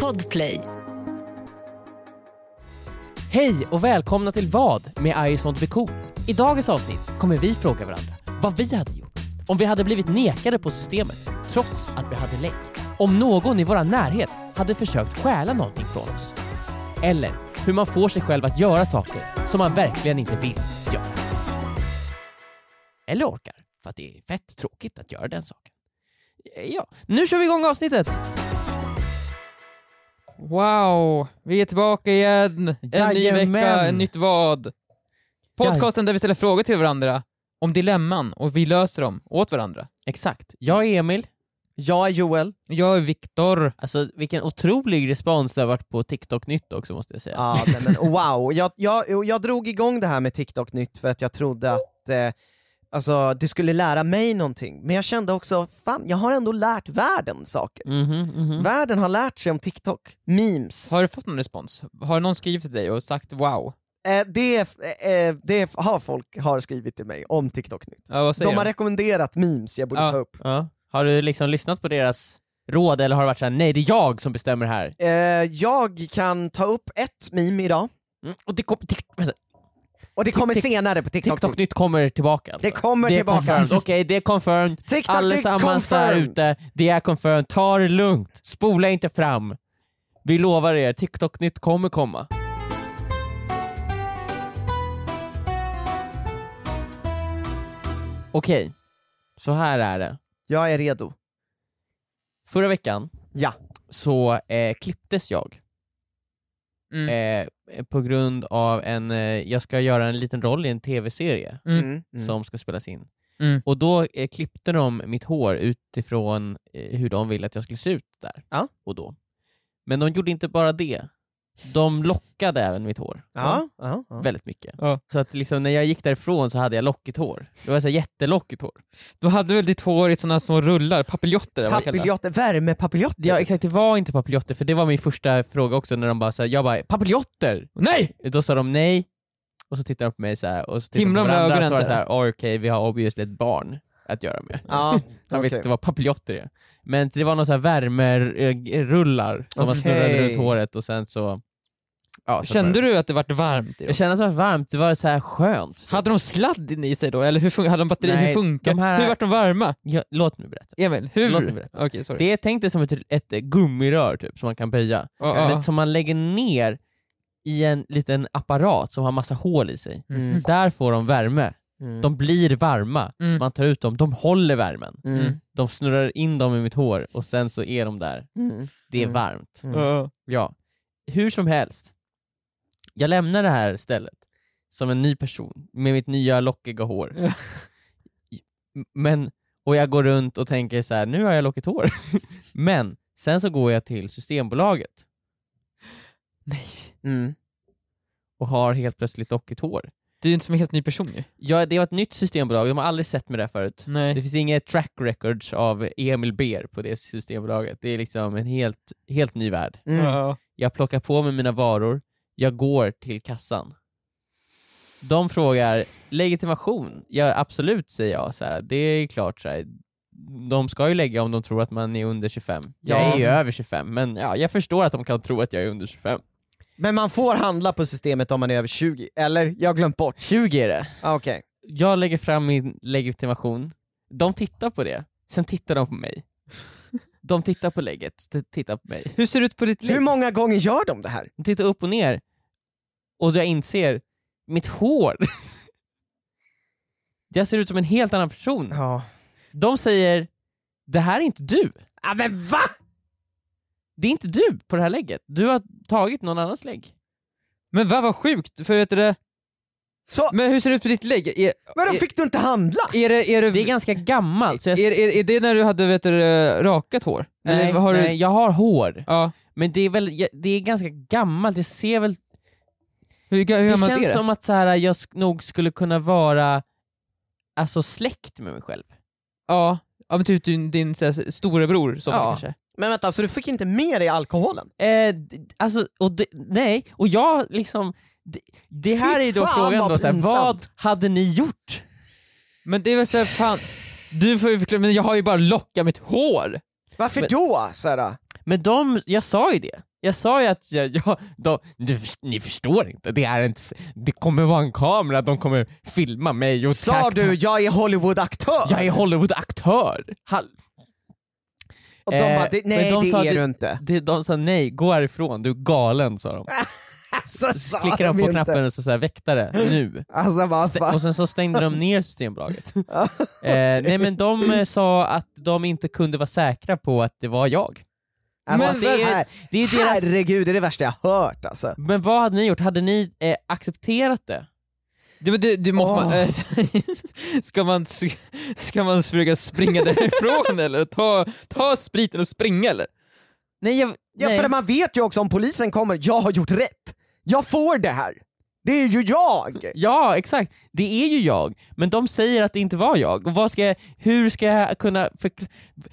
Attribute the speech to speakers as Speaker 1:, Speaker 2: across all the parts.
Speaker 1: Podplay.
Speaker 2: Hej och välkomna till Vad med I just want to be cool. I dagens avsnitt kommer vi fråga varandra vad vi hade gjort om vi hade blivit nekade på systemet trots att vi hade länk. Om någon i vår närhet hade försökt stjäla någonting från oss. Eller hur man får sig själv att göra saker som man verkligen inte vill göra. Eller orkar, för att det är fett tråkigt att göra den saken. Ja, nu kör vi igång avsnittet!
Speaker 3: Wow, vi är tillbaka igen. En ny
Speaker 2: Jajamän.
Speaker 3: vecka, en nytt vad. Podcasten där vi ställer frågor till varandra om dilemman och vi löser dem åt varandra.
Speaker 2: Exakt. Jag är Emil.
Speaker 4: Jag är Joel.
Speaker 3: Jag är Viktor.
Speaker 2: Alltså vilken otrolig respons det har varit på TikTok-nytt också måste jag säga.
Speaker 4: Ja, nej, men, wow, jag, jag, jag drog igång det här med TikTok nytt för att jag trodde att eh, alltså, det skulle lära mig någonting. Men jag kände också, fan jag har ändå lärt världen saker.
Speaker 2: Mhm, mhm.
Speaker 4: Världen har lärt sig om TikTok, memes.
Speaker 3: Har du fått någon respons? Har någon skrivit till dig och sagt wow?
Speaker 4: Eh, det, eh, det har folk har skrivit till mig om TikTok nytt.
Speaker 3: Ja, vad säger
Speaker 4: De
Speaker 3: de?
Speaker 4: har rekommenderat memes jag borde
Speaker 3: Ja.
Speaker 4: ta upp.
Speaker 2: Ja. Har du liksom lyssnat på deras råd eller har det varit såhär, nej det är jag som bestämmer här?
Speaker 4: Eh, jag kan ta upp ett meme idag,
Speaker 2: Mm. Och det kom, tik, vänta,
Speaker 4: och det kommer
Speaker 2: Tik-
Speaker 4: senare på TikTok,
Speaker 2: TikTok
Speaker 4: nytt.
Speaker 2: nytt kommer tillbaka alltså.
Speaker 4: Det kommer
Speaker 2: är
Speaker 4: tillbaka.
Speaker 2: confirmed. Okej, det är confirmed.
Speaker 4: TikTok
Speaker 2: Allesammans där
Speaker 4: confirmed.
Speaker 2: ute, det är confirmed. Ta det lugnt, spola inte fram. Vi lovar er, TikTok nytt kommer komma. Okej, så här är det.
Speaker 4: Jag är redo.
Speaker 2: Förra veckan
Speaker 4: Ja.
Speaker 2: så eh, klipptes jag
Speaker 3: Mm.
Speaker 2: eh, på grund av en, eh, jag ska göra en liten roll i en tv-serie
Speaker 3: Mm.
Speaker 4: Mm, mm.
Speaker 2: som ska spelas in.
Speaker 3: Mm.
Speaker 2: Och då eh, klippte de mitt hår utifrån eh, hur de ville att jag skulle se ut där
Speaker 4: Ja.
Speaker 2: och då. Men de gjorde inte bara det. De lockade även mitt hår.
Speaker 4: Ja, ja, ja.
Speaker 2: Väldigt mycket.
Speaker 3: Ja.
Speaker 2: Så att liksom, när jag gick därifrån så hade jag lockigt hår. Det var så här jättelockigt hår.
Speaker 3: Du hade väl ditt hår i såna små rullar, papiljotter? eller vad det kallas?
Speaker 4: Papiljotter, värmepapiljotter.
Speaker 2: Ja exakt, det var inte papiljotter, för det var min första fråga också när de bara såhär, jag bara “papiljotter!” Nej! Då sa de nej, och så tittade de på mig såhär, och så tittade de
Speaker 3: Himla
Speaker 2: på
Speaker 3: med
Speaker 2: varandra och så
Speaker 3: ögonen
Speaker 2: var det såhär, “Oj, okej, vi har obviously ett barn att göra med”.
Speaker 4: Ja,
Speaker 2: Han vet
Speaker 4: okej.
Speaker 2: inte vad papiljotter är. Men det var någon sån här värmerullar som man
Speaker 4: Okej.
Speaker 2: snurrade runt håret och sen så... Ja, så
Speaker 3: Kände du att det vart varmt i dem?
Speaker 2: Jag kände att det var varmt, det var så här skönt. typ.
Speaker 3: Hade de sladd in i sig då, eller hur fun- hade de batteri?
Speaker 2: Nej,
Speaker 3: hur funkar
Speaker 2: de här-
Speaker 3: Hur vart de varma?
Speaker 2: Ja, låt mig berätta.
Speaker 3: Emil, hur?
Speaker 2: Låt mig berätta.
Speaker 3: Okej, sorry.
Speaker 2: Det är tänkt det som ett, ett eh, gummirör typ, som man kan böja.
Speaker 3: Ja, ja.
Speaker 2: Men som man lägger ner i en liten apparat som har massa hål i sig.
Speaker 3: Mm.
Speaker 2: Där får de värme.
Speaker 4: Mm.
Speaker 2: De blir varma.
Speaker 3: Mm.
Speaker 2: Man tar ut dem, de håller värmen.
Speaker 4: Mm.
Speaker 2: De snurrar in dem i mitt hår och sen så är de där.
Speaker 4: Mm.
Speaker 2: Det är
Speaker 4: Mm.
Speaker 2: varmt.
Speaker 4: Mm.
Speaker 3: Ja.
Speaker 2: Ja, hur som helst. Jag lämnar det här stället som en ny person med mitt nya lockiga hår.
Speaker 3: Ja.
Speaker 2: Men, och jag går runt och tänker så här: nu har jag lockigt hår. Men sen så går jag till Systembolaget
Speaker 3: Nej.
Speaker 4: Mm.
Speaker 2: och har helt plötsligt lockigt hår.
Speaker 3: Du är ju inte som en helt ny person ju.
Speaker 2: Jag, det var ett nytt Systembolag, de har aldrig sett mig där förut.
Speaker 3: Nej.
Speaker 2: Det finns inget track records av Emil Ber på det Systembolaget. Det är liksom en helt, helt ny värld.
Speaker 4: Mm.
Speaker 3: Ja.
Speaker 2: Jag plockar på mig mina varor, jag går till kassan. De frågar legitimation. Ja, absolut, säger jag. Så här. Det är klart, så här. de ska ju lägga om de tror att man är under 25. Jag
Speaker 4: Ja.
Speaker 2: är ju över 25, men ja, jag förstår att de kan tro att jag är under 25.
Speaker 4: Men man får handla på systemet om man är över 20, eller? Jag har glömt bort.
Speaker 2: 20 är det.
Speaker 4: Ah, Okej.
Speaker 2: Jag lägger fram min legitimation. De tittar på det, sen tittar de på mig. De tittar på lägget, t- tittar på mig.
Speaker 3: Hur ser det ut på ditt liv?
Speaker 4: Hur många gånger gör de det här?
Speaker 2: De tittar upp och ner, och jag inser, mitt hår! Jag ser ut som en helt annan person.
Speaker 4: Ja.
Speaker 2: De säger, det här är inte du.
Speaker 4: Ah, men va?
Speaker 2: Det är inte du på det här lägget. Du har tagit någon annans lägg.
Speaker 3: Men vad vad sjukt, för vet du det?
Speaker 4: Så,
Speaker 3: Men hur ser det ut på ditt lägg? Är,
Speaker 4: men
Speaker 3: är-
Speaker 4: då fick du inte handla?
Speaker 3: är det, är det,
Speaker 2: Det är ganska gammalt. Så jag,
Speaker 3: är, är, är det när du hade vet du, det, rakat hår?
Speaker 2: nej,
Speaker 3: Eller har
Speaker 2: nej,
Speaker 3: Du,
Speaker 2: jag har hår.
Speaker 3: ja.
Speaker 2: Men det är, väl, jag- det är ganska gammalt. Det ser väl...
Speaker 3: Hur, ga- hur
Speaker 2: Det
Speaker 3: gammalt är
Speaker 2: känns
Speaker 3: det?
Speaker 2: som att så här, jag sk- nog skulle kunna vara alltså, släkt med mig själv.
Speaker 3: Ja. ja, men typ din, din så här, storebror som
Speaker 2: Ja.
Speaker 3: kanske.
Speaker 4: Men vänta, så du fick inte med dig alkoholen?
Speaker 2: Eh, d- alltså, och det, nej, och jag liksom... Det, det här
Speaker 4: Fy
Speaker 2: är då
Speaker 4: fan,
Speaker 2: frågan
Speaker 4: vad
Speaker 2: då, så här, vad
Speaker 4: pinsamt.
Speaker 2: hade ni gjort?
Speaker 3: Men det är väl såhär, fan, du får ju förklara, men jag har ju bara lockat mitt hår!
Speaker 4: Varför
Speaker 2: Men-
Speaker 4: då? Såhär,
Speaker 2: Men de, jag sa ju det. Jag sa ju att jag, jag de, du, ni förstår inte, det, är inte, det kommer vara en kamera, de kommer filma mig och
Speaker 4: Sa
Speaker 2: karaktär-
Speaker 4: du jag är Hollywood-aktör?
Speaker 2: Jag är Hollywood-aktör! Hall-
Speaker 4: Och de
Speaker 2: Eh,
Speaker 4: bara, det,
Speaker 2: men
Speaker 4: nej
Speaker 2: de
Speaker 4: det
Speaker 2: sa
Speaker 4: är
Speaker 2: det-
Speaker 4: du inte.
Speaker 2: Det, de sa nej, gå härifrån, du är galen sa de.
Speaker 4: Så Alltså, sa
Speaker 2: Klickade de
Speaker 4: de
Speaker 2: på
Speaker 4: inte.
Speaker 2: knappen och så sa väktare, nu.
Speaker 4: Alltså vad
Speaker 2: Stä-
Speaker 4: fan.
Speaker 2: och sen så stängde de ner Systembolaget. eh, nej men de eh, sa att de inte kunde vara säkra på att det var jag.
Speaker 4: Alltså,
Speaker 2: Men
Speaker 4: det är,
Speaker 2: Det är deras...
Speaker 4: herregud, det är det värsta jag har hört alltså.
Speaker 2: Men vad hade ni gjort? Hade ni eh, accepterat det?
Speaker 3: Du, men du, du måste
Speaker 4: Åh.
Speaker 3: man, eh, ska, man, ska man försöka springa därifrån eller? Ta, ta spriten och springa eller?
Speaker 2: Nej, jag,
Speaker 4: Ja,
Speaker 2: nej.
Speaker 4: för man vet ju också om polisen kommer, jag har gjort rätt. Jag får det här. Det är ju jag!
Speaker 2: ja, exakt. Det är ju jag, men de säger att det inte var jag. Och vad ska jag, hur ska jag kunna... Förkla-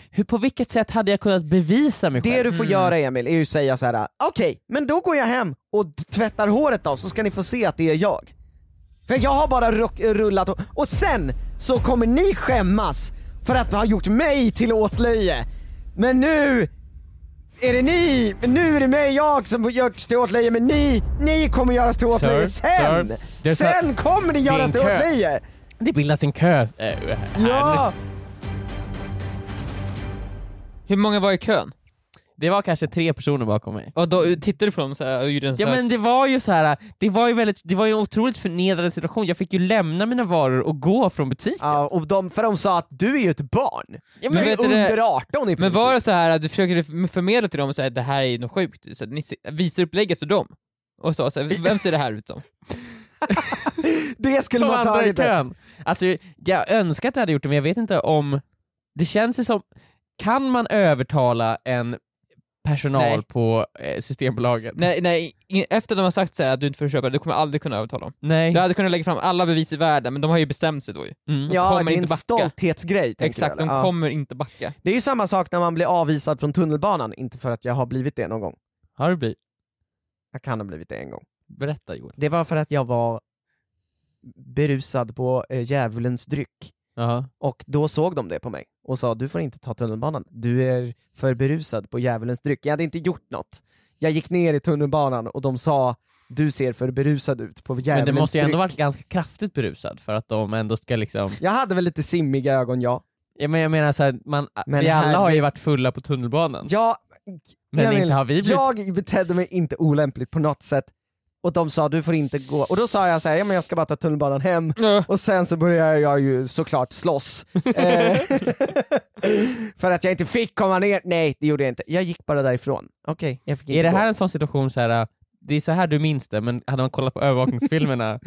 Speaker 2: hur, på vilket sätt hade jag kunnat bevisa mig själv?
Speaker 4: Det du får göra Emil är ju säga så här: okej, men då går jag hem och t- tvättar håret då så ska ni få se att det är jag. För jag har bara ruck- rullat och, och sen så kommer ni skämmas för att ha gjort mig till åtlöje. Men nu är det ni, nu är det mig jag som görs till åtlöje men ni, ni kommer göras till åtlöje
Speaker 2: Sir,
Speaker 4: sen!
Speaker 2: sir, det är så-
Speaker 4: sen kommer ni
Speaker 2: det är
Speaker 4: göras
Speaker 2: en
Speaker 4: till
Speaker 2: kö.
Speaker 4: åtlöje!
Speaker 2: Det bildas en kö eh, här.
Speaker 4: Ja!
Speaker 3: Hur många var i kön?
Speaker 2: Det var kanske tre personer bakom mig.
Speaker 3: Och då, tittade du på dem så här, och gjorde en så
Speaker 2: Ja
Speaker 3: här,
Speaker 2: men det var ju så här, det var ju, väldigt, det var ju en otroligt förnedrande situation, jag fick ju lämna mina varor och gå från butiken.
Speaker 4: Ja, och de, för de sa att du är ju ett barn.
Speaker 2: Ja,
Speaker 4: Du
Speaker 2: men
Speaker 4: är
Speaker 3: vet du det-
Speaker 4: under 18 i princip.
Speaker 3: Men var det så här att du försökte förmedla till dem så här, det här är ju något sjukt, så att ni se- visar upplägget för dem? Och så, så här, vem ser det här ut som?
Speaker 4: det skulle
Speaker 2: De
Speaker 4: man
Speaker 2: andra i
Speaker 4: tagit det.
Speaker 2: kön. Alltså, jag önskar att jag hade gjort det men jag vet inte om, det känns ju som, kan man övertala en personal
Speaker 3: Nej.
Speaker 2: på eh, Systembolaget?
Speaker 3: nej, nej, i- efter de har sagt så här att du inte får köpa det, du kommer aldrig kunna övertala dem.
Speaker 2: Nej.
Speaker 3: Du hade kunnat lägga fram alla bevis i världen, men de har ju bestämt sig då ju.
Speaker 2: Mm.
Speaker 4: Ja,
Speaker 3: kommer
Speaker 4: det är en
Speaker 3: inte backa.
Speaker 4: stolthetsgrej. tänker
Speaker 3: Exakt,
Speaker 4: jag,
Speaker 3: de
Speaker 4: eller? Ja.
Speaker 3: kommer inte backa.
Speaker 4: Det är ju samma sak när man blir avvisad från tunnelbanan, inte för att jag har blivit det någon gång.
Speaker 2: Har det blivit?
Speaker 4: Jag kan ha blivit det en gång.
Speaker 2: Berätta Joel.
Speaker 4: Det var för att jag var berusad på eh, djävulens dryck.
Speaker 2: Jaha.
Speaker 4: Och då såg de det på mig och sa du får inte ta tunnelbanan, du är för berusad på djävulens dryck. Jag hade inte gjort något. Jag gick ner i tunnelbanan och de sa du ser för berusad ut på
Speaker 2: Men
Speaker 4: djävulens
Speaker 2: du måste ju ändå
Speaker 4: dryck.
Speaker 2: varit ganska kraftigt berusad för att de ändå ska liksom
Speaker 4: Jag hade väl lite simmiga ögon ja.
Speaker 2: Ja, men jag menar såhär, man,
Speaker 4: Men
Speaker 2: vi alla har ju
Speaker 4: herre-
Speaker 2: varit fulla på tunnelbanan.
Speaker 4: Jag,
Speaker 2: men
Speaker 4: jag
Speaker 2: inte
Speaker 4: vill-
Speaker 2: har vi blivit
Speaker 4: jag betedde mig inte olämpligt på något sätt och de sa du får inte gå, och då sa jag så här, ja men jag ska bara ta tunnelbanan hem och sen så började jag ju såklart slåss. Eh, för att jag inte fick komma ner, nej det gjorde jag inte. Jag gick bara därifrån. Okej, jag fick inte
Speaker 2: Är det
Speaker 4: gå.
Speaker 2: här en sån situation så här? äh, det är så här du minns det, men hade man kollat på övervakningsfilmerna...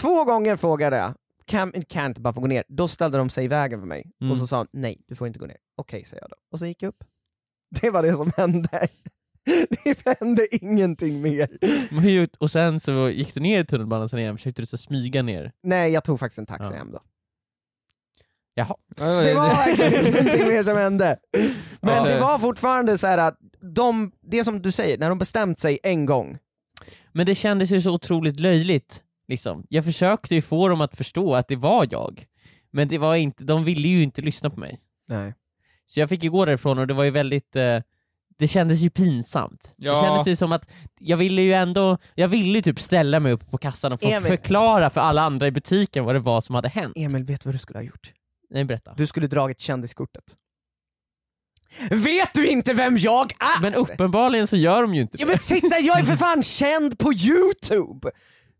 Speaker 4: Två gånger frågade jag, kan, kan jag inte bara få gå ner? Då ställde de sig i vägen för mig
Speaker 2: Mm.
Speaker 4: och så sa de, nej du får inte gå ner. Okej, säger jag då. Och så gick jag upp. Det var det som hände. Det hände ingenting mer.
Speaker 2: Men hur- och sen så gick du ner i tunnelbanan sen igen, försökte du så smyga ner.
Speaker 4: Nej, jag tog faktiskt en taxi
Speaker 2: Ja.
Speaker 4: hem då.
Speaker 2: Jaha.
Speaker 4: Det var verkligen ingenting mer som hände. Men
Speaker 3: Ja.
Speaker 4: det var fortfarande så här att de, det som du säger, när de bestämt sig en gång.
Speaker 2: Men det kändes ju så otroligt löjligt. Liksom. Jag försökte ju få dem att förstå att det var jag, men det var inte, de ville ju inte lyssna på mig.
Speaker 4: Nej.
Speaker 2: Så jag fick ju gå därifrån och det var ju väldigt, eh, det kändes ju pinsamt.
Speaker 3: Ja.
Speaker 2: Det kändes ju som att jag ville ju ändå, jag ville ju typ ställa mig upp på kassan och få
Speaker 4: Emil.
Speaker 2: förklara för alla andra i butiken vad det var som hade hänt.
Speaker 4: Emil, vet du vad du skulle ha gjort?
Speaker 2: Nej berätta.
Speaker 4: Du skulle dragit kändiskortet. Vet du inte vem jag är?
Speaker 2: Men uppenbarligen så gör de ju inte
Speaker 4: Äh. Ja
Speaker 2: det.
Speaker 4: men titta, jag är för fan känd på youtube!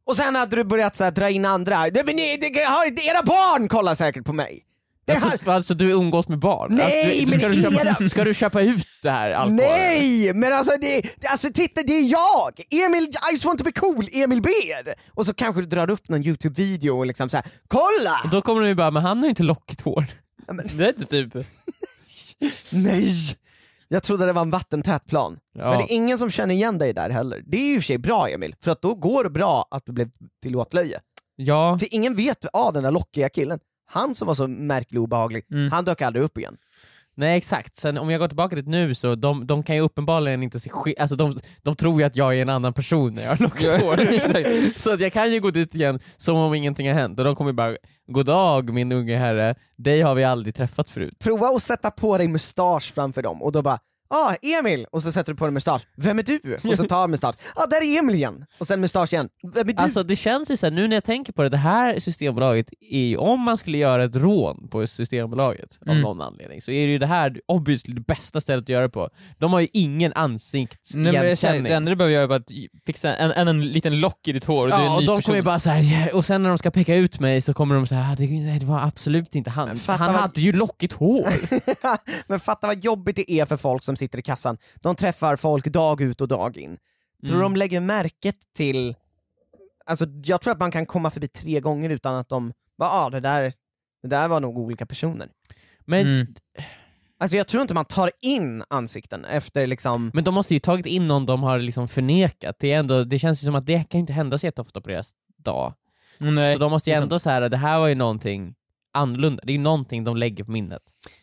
Speaker 4: Och sen hade du börjat så här, dra in andra, Nej, men ni, det, har- era barn kollar säkert på mig! Det har,
Speaker 2: Alltså, alltså du umgås med barn?
Speaker 4: Nej,
Speaker 2: Att du,
Speaker 4: men
Speaker 2: ska, du köpa,
Speaker 4: era-
Speaker 2: ska du köpa ut det här alkoholen?
Speaker 4: Nej! Men alltså, det, det- alltså titta det är jag! Emil, I just want to be cool, Emil Beer! Och så kanske du drar upp någon YouTube-video och liksom såhär, kolla!
Speaker 2: Då kommer de ju bara, men han har ju inte lockigt hår.
Speaker 3: Det är inte typ...
Speaker 4: Nej! Jag trodde det var en vattentät plan.
Speaker 2: Ja.
Speaker 4: Men det är ingen som känner igen dig där heller. Det är ju i och för sig bra Emil, för att då går det bra att du blev till åtlöje.
Speaker 2: Ja,
Speaker 4: För ingen vet, ah den där lockiga killen, han som var så märklig och obehaglig,
Speaker 2: Mm.
Speaker 4: han dök aldrig upp igen.
Speaker 2: nej exakt. Sen om jag går tillbaka dit nu så de, de kan ju uppenbarligen inte se sk- alltså de, de tror ju att jag är en annan person när jag har lockigt hår. så att jag kan ju gå dit igen som om ingenting har hänt och de kommer ju bara, god dag min unge herre, dig har vi aldrig träffat förut.
Speaker 4: Prova att sätta på dig mustasch framför dem och då bara ah, Emil! Och så sätter du på dig mustasch. Vem är du? Och så tar jag mustasch. ah, där är Emil igen! Och sen mustasch igen. Vem är du?
Speaker 2: Alltså det känns ju så här, nu när jag tänker på det, det här Systembolaget är ju, om man skulle göra ett rån på Systembolaget av
Speaker 3: Mm.
Speaker 2: någon anledning, så är det ju det här obviously det bästa stället att göra det på. De har ju ingen
Speaker 3: Nej, men jag känner,
Speaker 2: ansiktsigenkänning.
Speaker 3: det enda du behöver göra är bara att fixa en, en, en liten lock i ditt hår och du är
Speaker 2: Ja,
Speaker 3: en
Speaker 2: och
Speaker 3: ny
Speaker 2: de
Speaker 3: person.
Speaker 2: kommer ju bara så här, och sen när de ska peka ut mig så kommer de säga ah, det, nej, det var absolut inte han,
Speaker 4: Men fatta
Speaker 2: han
Speaker 4: vad-
Speaker 2: hade ju lockigt hår.
Speaker 4: Men fatta vad jobbigt det är för folk som sitter i kassan. De träffar folk dag ut och dag in. Tror du
Speaker 2: Mm.
Speaker 4: de lägger märket till... Alltså, jag tror att man kan komma förbi tre gånger utan att de bara ah, det, där, det där var nog olika personer.
Speaker 2: Men,
Speaker 3: Mm.
Speaker 4: Alltså jag tror inte man tar in ansikten efter liksom...
Speaker 2: men de måste ju tagit in någon de har liksom förnekat, det, är ändå, det känns ju som att det kan ju inte hända så jätteofta på deras dag.
Speaker 3: Nej.
Speaker 2: Så de måste ju
Speaker 3: det är
Speaker 2: ändå så här, det här var ju någonting annorlunda, det är ju någonting de lägger på minnet.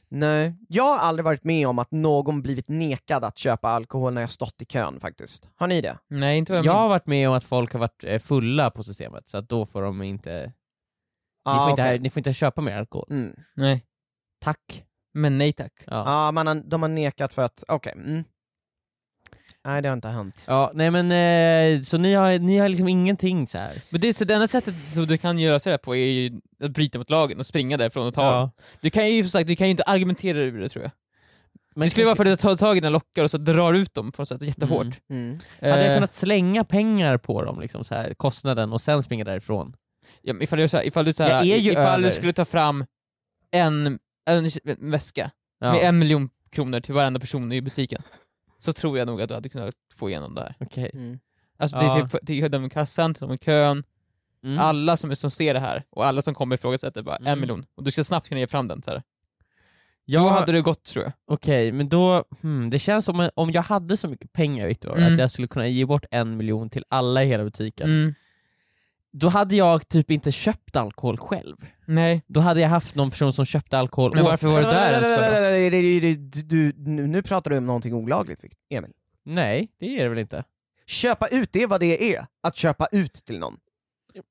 Speaker 4: Nej. Jag har aldrig varit med om att någon blivit nekad att köpa alkohol när jag stått i kön faktiskt. Har ni det?
Speaker 3: Nej, inte vad
Speaker 2: Jag,
Speaker 3: jag, minns.
Speaker 2: har varit med om att folk har varit eh, fulla på systemet, så att då får de inte,
Speaker 3: Ah,
Speaker 2: ni, får inte
Speaker 4: Ah, okej.
Speaker 2: ni får inte köpa mer alkohol.
Speaker 4: Mm.
Speaker 3: Nej.
Speaker 2: Tack.
Speaker 3: Men nej tack.
Speaker 2: Ja.
Speaker 4: Ja, man har, de har nekat för att, okej. mm. Nej det har inte hänt.
Speaker 2: Ja, nej men eh, så ni har, ni har liksom ingenting så här.
Speaker 3: Men det, är- så det enda sättet som du kan göra sådär på är ju att bryta mot lagen och springa därifrån och ta
Speaker 2: Ja.
Speaker 3: den. Du kan ju som sagt du kan ju inte argumentera ur det tror jag.
Speaker 2: Men
Speaker 3: det skulle vara för att du tar tag i dina lockar och så drar ut dem på något sätt jättehårt.
Speaker 2: Mm.
Speaker 4: Mm.
Speaker 2: Hade jag
Speaker 3: Eh,
Speaker 2: kunnat slänga pengar på dem, liksom, så här, kostnaden, och sen springa därifrån?
Speaker 3: ja, men ifall, du, gör så här, ifall, du, så
Speaker 2: Jag
Speaker 3: här,
Speaker 2: är ju
Speaker 3: ifall
Speaker 2: över.
Speaker 3: du skulle ta fram en, en väska
Speaker 2: Ja.
Speaker 3: med en miljon kronor till varenda person i butiken så tror jag nog att du hade kunnat få igenom det här.
Speaker 2: Okej.
Speaker 4: Mm.
Speaker 3: Alltså det
Speaker 2: Ja.
Speaker 3: är till, till de i kassan, till de i kön,
Speaker 2: Mm.
Speaker 3: alla som, som ser det här och alla som kommer ifrågasätter bara
Speaker 2: Mm.
Speaker 3: en miljon och du ska snabbt kunna ge fram den. Så här. Då
Speaker 2: Jag-
Speaker 3: hade det gått tror jag.
Speaker 2: Okej, men då, hmm, det känns som om jag hade så mycket pengar Victor,
Speaker 3: Mm.
Speaker 2: att jag skulle kunna ge bort en miljon till alla i hela butiken. Då hade jag typ inte köpt alkohol själv.
Speaker 3: Nej.
Speaker 2: Då hade jag haft någon person som köpte alkohol
Speaker 3: Men
Speaker 2: åt
Speaker 3: varför
Speaker 2: mig.
Speaker 3: var det där ens för? då?
Speaker 4: Nej, nej, nej, nej, nej, du, nu nu pratar du om någonting olagligt Victor- Emil.
Speaker 2: Nej, det är det väl inte.
Speaker 4: Köpa ut, det är vad det är. Att köpa ut till någon.